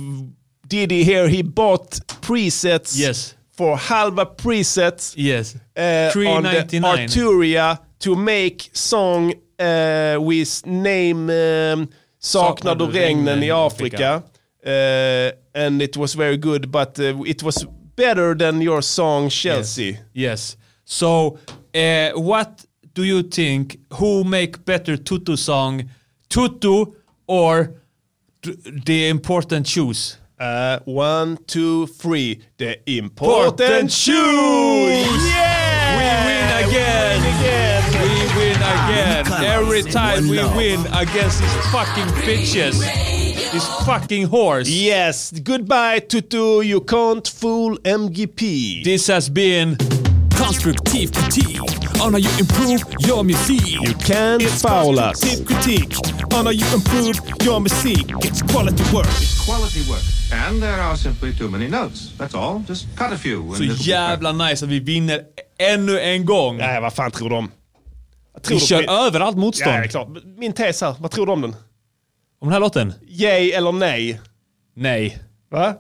Diddy here. He bought presets
Yes.
for halva presets
Yes.
uh, on the
399.
Arturia to make song uh, with name um, Saknar
Saknar
du
du
regnen
regnen
i
i
Africa. Uh, and it was very good, but uh, it was better than your song Chelsea.
Yes. So, uh, what do you think? Who make better Tutu song, Tutu or d- the important shoes?
Uh, one, two, three. The important shoes! Yeah!
We win again.
We win again.
We win again. Every time we win against these fucking bitches, this fucking horse.
Yes, goodbye Tutu, you can't fool MGP.
This has been.
Konstruktiv kritik on how you improve your music.
You can't foul us.
Constructive critique on how you improve your music. It's quality work.
quality work. And there are simply too many notes. That's all. Just cut a few. and
Så
it'll be
jävla nice att vi vinner ännu en gång.
Nej, vad fan tror de?
Vi kör över allt motstånd.
Ja, det är klart. Min tes här, vad tror du om den?
Om den här låten?
Yay eller nej?
Nej.
Va?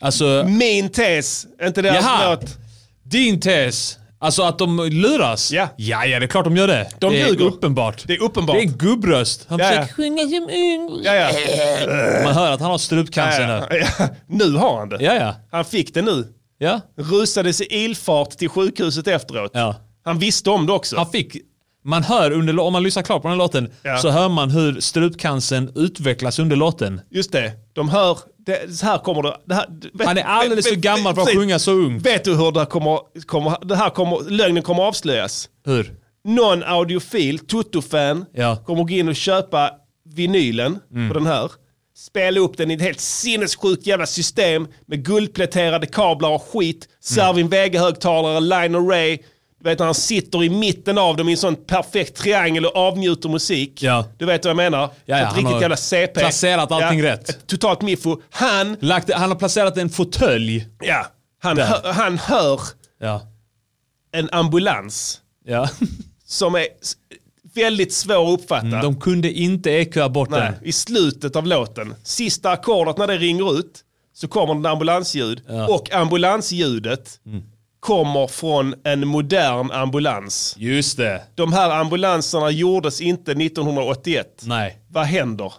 Alltså...
Min tes, inte deras
Jaha.
låt.
Din tes. Alltså att de luras? Ja. Ja, ja det är klart de gör det.
De
det
ljuger.
är uppenbart.
Det är uppenbart.
Det är en gubbröst. Han
Ja, ja.
försöker sjunga som ung.
Ja, ja.
Man hör att han har strupcancer
Ja,
nu.
ja. Nu har han det.
Ja, ja.
Han fick det nu.
Ja.
Rusades i ilfart till sjukhuset efteråt.
Ja.
Han visste om det också.
Han fick... Man hör under, lå- om man lyssnar klart på den här låten,
Ja.
så hör man hur strupcancern utvecklas under låten.
Just det, de hör, det, så här kommer det. det här,
Han är alldeles för gammal för att
precis.
sjunga så ung.
Vet du hur det här kommer, kommer, det här kommer lögnen kommer avslöjas?
Hur?
Någon audiofil, Toto-fan,
Ja.
kommer gå in och köpa vinylen på den här. Spela upp den i ett helt sinnessjukt jävla system med guldpläterade kablar och skit. Servin Vega-högtalare, line array. Du vet när han sitter i mitten av dem i en sån perfekt triangel och avnjuter musik.
Ja.
Du vet vad jag menar?
Ja, ja,
Ett
han
riktigt
har
jävla CP.
placerat allting rätt.
ett Totalt miffo. Han,
Lagt, han har placerat en fåtölj.
ja, han,
Där.
hör, han hör
Ja.
en ambulans
Ja.
som är s- väldigt svår att uppfatta.
Mm, De kunde inte EQa bort
Nej,
den.
I slutet av låten, sista ackordet när det ringer ut, så kommer det ett ambulansljud. Och ambulansljudet
Mm.
kommer från en modern ambulans.
Just det.
De här ambulanserna gjordes inte 1981.
Nej.
Vad händer?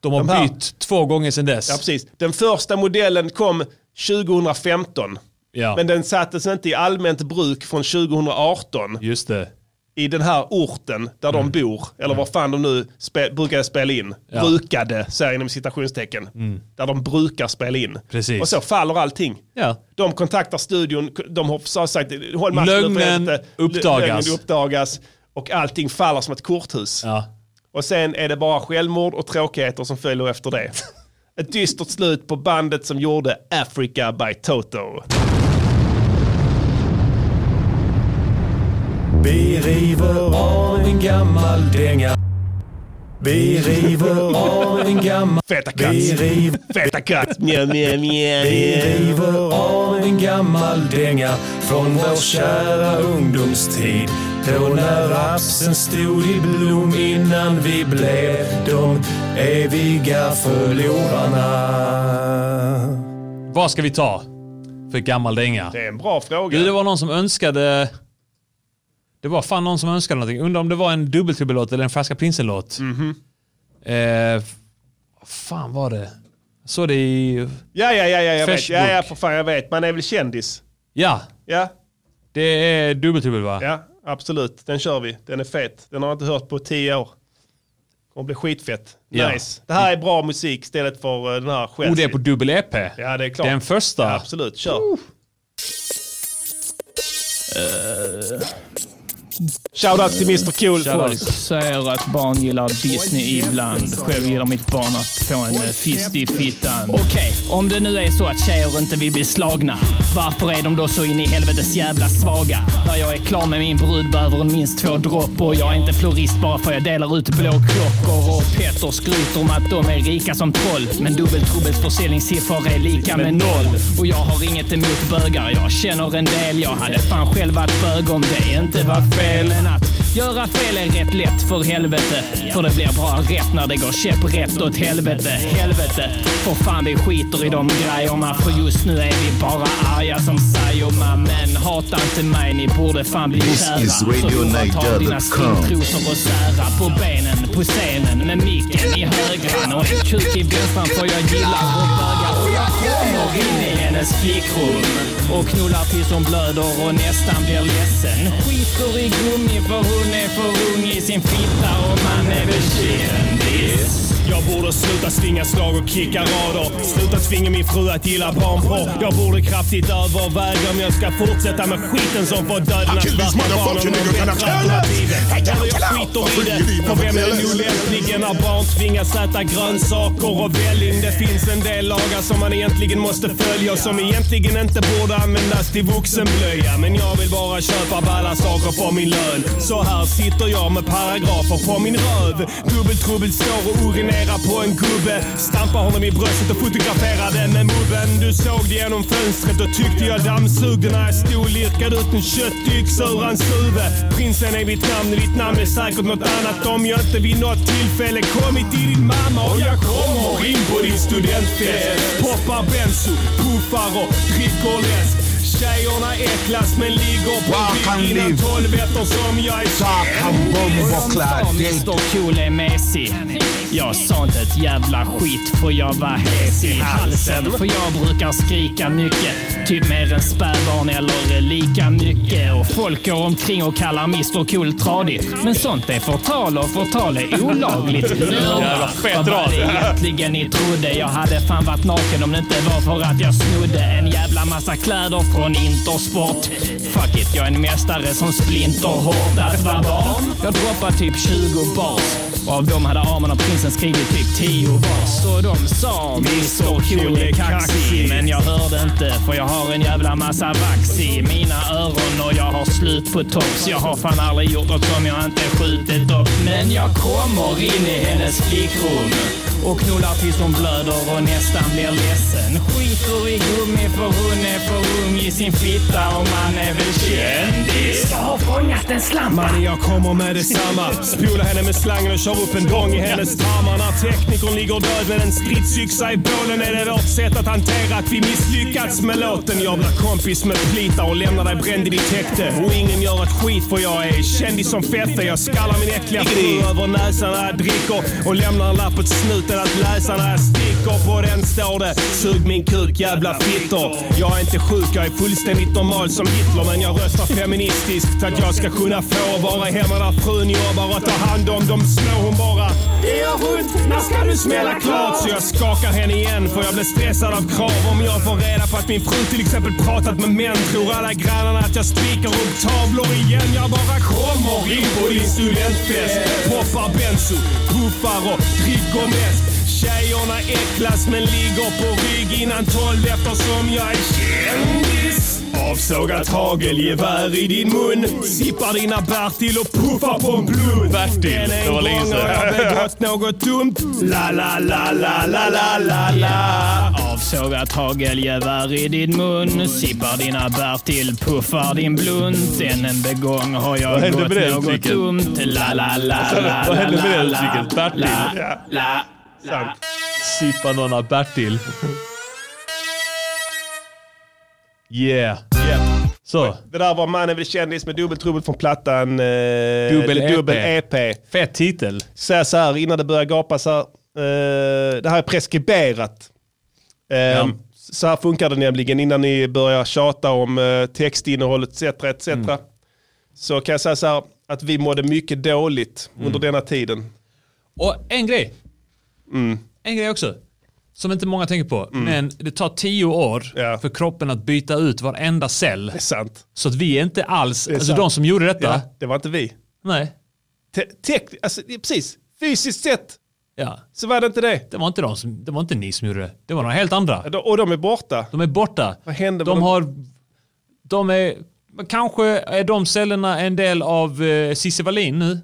De har
De här-
bytt två gånger sedan dess.
Ja, precis. Den första modellen kom 2015.
Ja.
Men den sattes inte i allmänt bruk från 2018
Just det.
i den här orten där de bor, eller var fan de nu spe, brukade spela in.
Mm. Ja. Mm.
Brukade, säger jag inom citationstecken. Där de brukar spela in.
Precis.
Och så faller allting.
Ja.
De kontaktar studion, de har sa- sagt håll masken
Lögnen
för helvete."
uppdagas.
eh, Lögnen uppdagas. Och allting faller som ett korthus.
Ja.
Och sen är det bara självmord och tråkigheter som följer efter det. Ett dystert slut på bandet som gjorde Africa by Toto.
Vi river av en gammal dänga. Vi river av en gammal...
Feta katt.
river...
Feta katt. Mjau, mjau, mjau,
Vi
mjau.
river av en gammal dänga från vår kära ungdomstid. Då när rapsen stod i blom innan vi blev de eviga förlorarna.
Vad ska vi ta för gammal dänga?
Det är en bra fråga.
Du, det var någon som önskade... Det var fan någon som önskade någonting. Undrar om det var en dubbeltribbellåt eller en Färska Prinsen-låt.
Mhm.
Eh, vad fan var det? Så det i...
Ja, ja, ja, ja, jag vet.
Facebook.
Ja, ja, för fan, jag vet. Man är väl kändis.
Ja,
Ja,
det är dubbeltribbel va?
ja, absolut. Den kör vi. Den är fet. Den har jag inte hört på tio år. Kommer bli skitfett.
Ja.
Nice. Det här är bra musik istället för eh, den här själv.
Och det är på dubbel EP.
Ja, det är klart.
Den första.
Ja, absolut, kör. Shoutout till Mr Cool.
Folk säger att barn gillar Disney ibland. Själv gillar mitt barn att få en eh, fist i fittan. Okej, om det nu är så att tjejer inte vill bli slagna. Varför är de då så in i helvetes jävla svaga? När jag är klar med min brud behöver hon minst två droppor. Jag är inte florist bara för jag delar ut blå klockor. Och Petter skryter om att de är rika som troll. Men dubbeltrubbels försäljningssiffror är lika med noll. Och jag har inget emot bögar. Jag känner en del. Jag hade fan själv varit bög om det inte var fel. Men att Göra fel är rätt lätt, för helvete. För det blir bara rätt när det går käpprätt åt helvete. Helvete. För fan, vi skiter i de grejerna. För just nu är vi bara arga som sayoma. Men hata inte mig, ni borde fan bli
This
kära.
is
Så
Radio
får man ta dina
Niger.com.
stintrosor och sära på benen, på scenen. Med micken i högran och en kuk i vänstran. För jag gillar att böga. Och jag kommer in i hennes flickrum. Och knullar tills hon blöder och nästan blir ledsen. Skiter i gummi för hon är för ung i sin fitta och man är väl kändis.
Jag borde sluta svinga slag och kicka rader. Sluta tvinga min fru att gilla barnporr. Jag borde kraftigt överväga om jag ska fortsätta med skiten som får döden
I
att
kill these
svarta barnen
motherfucking niggas and I
bättre
kill them.
alternativet.
Hey, yo,
Eller jag
chill out.
skiter i det. För vem är det nu lämpligen när barn tvingas äta grönsaker och välling? Det finns en del lagar som man egentligen måste följa och som egentligen inte borde användas till vuxenblöja. Men jag vill bara köpa balla saker på min lön. Så här sitter jag med paragrafer på min röv. Dubbeltrubbel står och urinerar imponera på en gubbe. Stampa honom i bröstet och fotograferade med moven. Du såg det genom fönstret och tyckte jag dammsugde när jag stod och lirkade ut en köttyxa ur hans huvud. Prinsen är mitt namn och ditt namn är säkert något annat om jag inte vid något tillfälle kommit till din mamma. Och jag kommer in på din studentfest. Poppar benzo, puffar och dricker läsk. Tjejerna äcklas men ligger på
Walk and
rygg innan
live.
tolvetter som jag är
Sakan bomboklar.
Mr Cool är mesig. Jag sa inte ett jävla skit för jag var hes i halsen. För jag brukar skrika mycket. Typ mer än spädbarn eller lika mycket. Och folk går omkring och kallar Mr Cool tradigt. Men sånt är förtal och förtal är olagligt.
Jävla fett
Vad var
rad.
det egentligen ni trodde? Jag hade fan varit naken om det inte var för att jag snodde en jävla massa kläder från Intersport. Fuck it, jag är en mästare som splinter hårt att vara barn. Jag droppade typ 20 bars. Och av dem hade Arman och Prinsen skrivit typ 10 bars. Så de sa Mr Cool är kaxig. Men jag hörde inte för jag har en jävla massa vax i mina öron och jag har slut på tops. Jag har fan aldrig gjort något som jag inte skjutit upp. Men jag kommer in i hennes flickrum. Och knullar tills hon blöder och nästan blir ledsen. Skiter i gummi för hon är för ung i sin fitta och man är väl kändis. Jag har fångat en slamma.
Mannen jag kommer med detsamma. Spolar henne med slangen och kör upp en dong i hennes tarmar. När teknikern ligger död med en stridsyxa i bålen är det vårt sätt att hantera att vi misslyckats med låten. Jag blir kompis med plitar och lämnar dig bränd i ditt häkte. Och ingen gör ett skit för jag är kändis som fette. Jag skallar min äckliga fru över näsan när jag dricker och lämnar en lapp åt snuten att läsa när jag sticker. På den står det “Sug min kuk jävla fittor”. Jag är inte sjuk, jag är fullständigt normal som Hitler. Men jag röstar feministiskt för att jag ska kunna få vara hemma där frun jobbar och ta hand om de små. Hon bara “Det gör ont, när ska du smälla klart?” Så jag skakar henne igen för jag blir stressad av krav. Om jag får reda på att min fru till exempel pratat med män tror alla grannarna att jag spikar upp tavlor igen. Jag bara kommer in på din studentfest. Poppar benzo, puffar och dricker mest. Tjejerna äcklas men ligger på rygg innan tolv eftersom jag är kändis. Avsågat hagelgevär i din mun. Sippar dina Bertil och puffar på en blunt. Bertil,
det var länge sedan.
begått något dumt. La, la, la, la, la, la, la, la.
Avsågat hagelgevär i din mun. Sippar dina Bertil, puffar din blunt. Än en begång har jag
Vad hände med
gått
det
något
uttrycket?
dumt. La, la, la, la,
Vad hände
la,
med det
la,
uttrycket?
la,
Bertil?
la, la, la.
Sippa någon av Bertil. Yeah. Så.
Det där var Mannen vill kändis med dubbeltrubbel från plattan. Eh,
Dubbel
The
E EP.
dubbel E EP.
Fett titel.
Säga så här innan det börjar gapa så här. Eh, det här är preskriberat. Eh, Så här funkar det nämligen innan ni börjar tjata om eh, textinnehåll etc. etc.
Mm.
Så kan jag säga så här att vi mådde mycket dåligt
Mm.
under denna tiden.
Och en grej.
Mm.
En grej också. Som inte många tänker på. Men det tar tio år för kroppen att byta ut varenda cell. Det är
sant.
Så att vi är inte alls,
är
alltså
sant.
de som gjorde detta.
Ja, det var inte vi.
Nej.
Te- tek- alltså, det- precis, fysiskt sett
Ja.
så var det inte det.
Det var inte, de som, det var inte ni som gjorde det. Det var några helt andra.
De- Och de är borta.
De är borta.
Vad hände med
De
dem?
har... De är... men Kanske är de cellerna en del av eh, Cissi Wallin nu.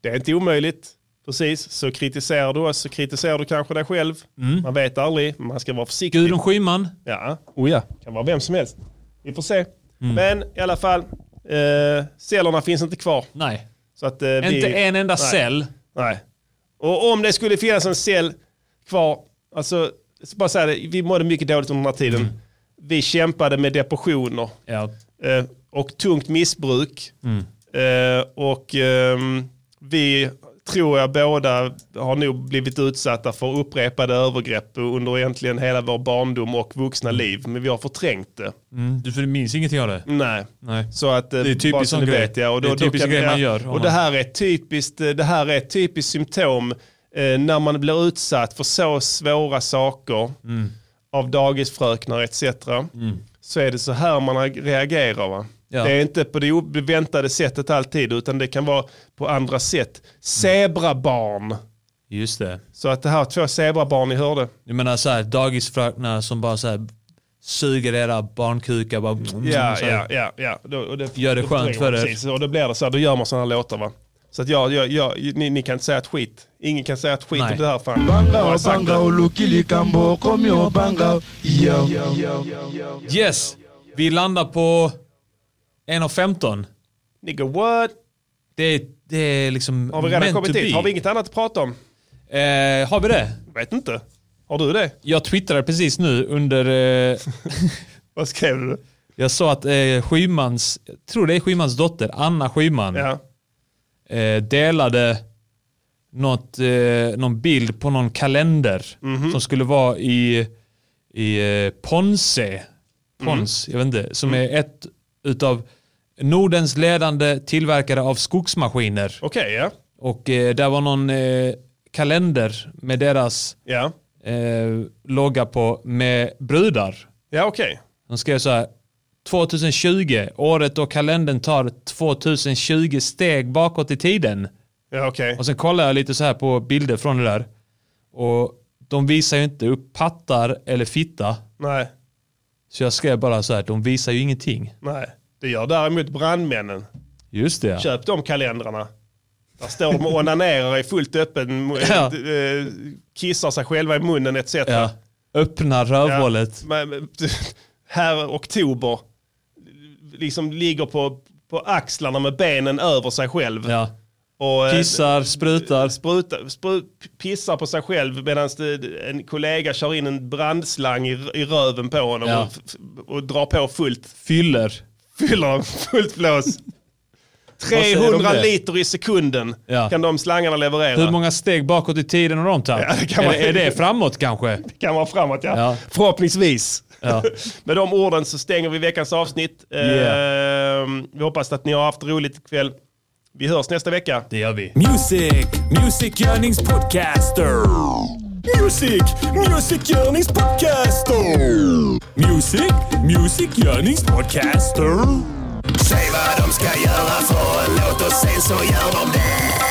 Det är inte omöjligt. Precis, så kritiserar du oss så kritiserar du kanske dig själv.
Mm.
Man vet aldrig, men man ska vara försiktig.
Gudrun Schyman.
Ja, oh ja. kan vara vem som helst. Vi får se.
Mm.
Men i alla fall, eh, cellerna finns inte kvar.
Nej.
Så att, eh, vi,
Inte en enda
nej.
cell.
Nej. Och om det skulle finnas en cell kvar, alltså, jag ska bara säga det, vi mådde mycket dåligt under den här tiden.
Mm.
Vi kämpade med depressioner
Ja.
eh, och tungt missbruk.
Mm.
Eh, och ehm, vi tror jag båda har nog blivit utsatta för upprepade övergrepp under egentligen hela vår barndom och vuxna liv. Men vi har förträngt det.
Mm, du för du minns ingenting av det?
Nej.
Nej.
Så att, eh,
Det är typiskt
bara så
sån
ni
grej.
vet, ja. Och då,
Det är
då
typiskt
kan-
grej man
ja.
gör, om
Och
man-
det här är typiskt, eh, det här är ett typiskt symptom eh, när man blir utsatt för så svåra saker
Mm.
av dagisfröknar etc. Så är det så här man ag- reagerar. Va?
Ja.
Det är inte på det oväntade sättet alltid utan det kan vara på andra sätt. Zebrabarn.
Just det.
Så att det här två zebrabarn ni hörde.
Du menar så här dagisfröknar som bara så här suger era barnkukar. Bara,
Ja,
Mm, så här.
ja, ja. ja. Då, och det,
Gör det
då
skönt
förtränger
för
man
er.
Precis, och då blir det så här, då gör man sådana här låtar va. Så att jag, jag, jag, ni, ni kan inte säga ett skit. Ingen kan säga ett skit
Nej.
om det här. Fan. Jag
Banga
har
och
sagt
banga
det.
och Lukili Kambo, kom ju och banga. Yo, yo, yo.
Yes, vi landar på 1 av 15.
Nigga what?
Det, det är liksom
Har vi redan
meant
kommit
to
dit?
be.
Har vi inget annat att prata om?
Eh, har vi det?
Vet inte. Har du det?
Jag twittrade precis nu under... Eh,
Vad skrev du?
Jag sa att eh, Skymans, jag tror det är Skymans dotter, Anna Skyman, eh, delade något, eh, någon bild på någon kalender
Mhm.
som skulle vara i, i eh, Ponse. Pons, jag vet inte, som är ett utav Nordens ledande tillverkare av skogsmaskiner.
Okej, ja.
Och eh, där var någon eh, kalender med deras
Ja.
eh, logga på med brudar.
Ja, okej.
De skrev så här. 2020, året då kalendern tar 2020 steg bakåt i tiden.
Ja, okej.
Och sen kollar jag lite så här på bilder från det där. Och de visar ju inte upp pattar eller fitta.
Nej.
Så jag skrev bara så här, de visar ju ingenting.
Nej. Det gör däremot brandmännen.
Just det ja.
Köp de kalendrarna. Där står de och onanerar i fullt öppen,
Ja.
eh, kissar sig själva i munnen etc.
ja. Öppna rövhålet.
Men, men, Här oktober, liksom ligger på, på axlarna med benen över sig själv.
Ja.
Och, eh,
Kissar, sprutar.
Spruta, spru, pissar på sig själv medan en kollega kör in en brandslang i, i röven på honom
Ja.
och, f- och drar på fullt.
Fyller.
Fyller han fullt blås.
Vad säger de om
300
det?
liter i sekunden
Ja.
kan de slangarna leverera.
Hur många steg bakåt i tiden har de tagit?
Ja, det kan man-
Eller är det framåt kanske?
kan vara framåt ja.
Ja.
Förhoppningsvis.
Ja.
Med de orden så stänger vi veckans avsnitt. Eh, vi hoppas att ni har haft roligt ikväll. Vi hörs nästa vecka.
Det gör vi.
Music, Music Yearnings Podcaster. Music, Music Yearnings Podcaster. Music, Music Yearnings Podcaster.
Säg vad de ska göra för en låt och sen så gör de det.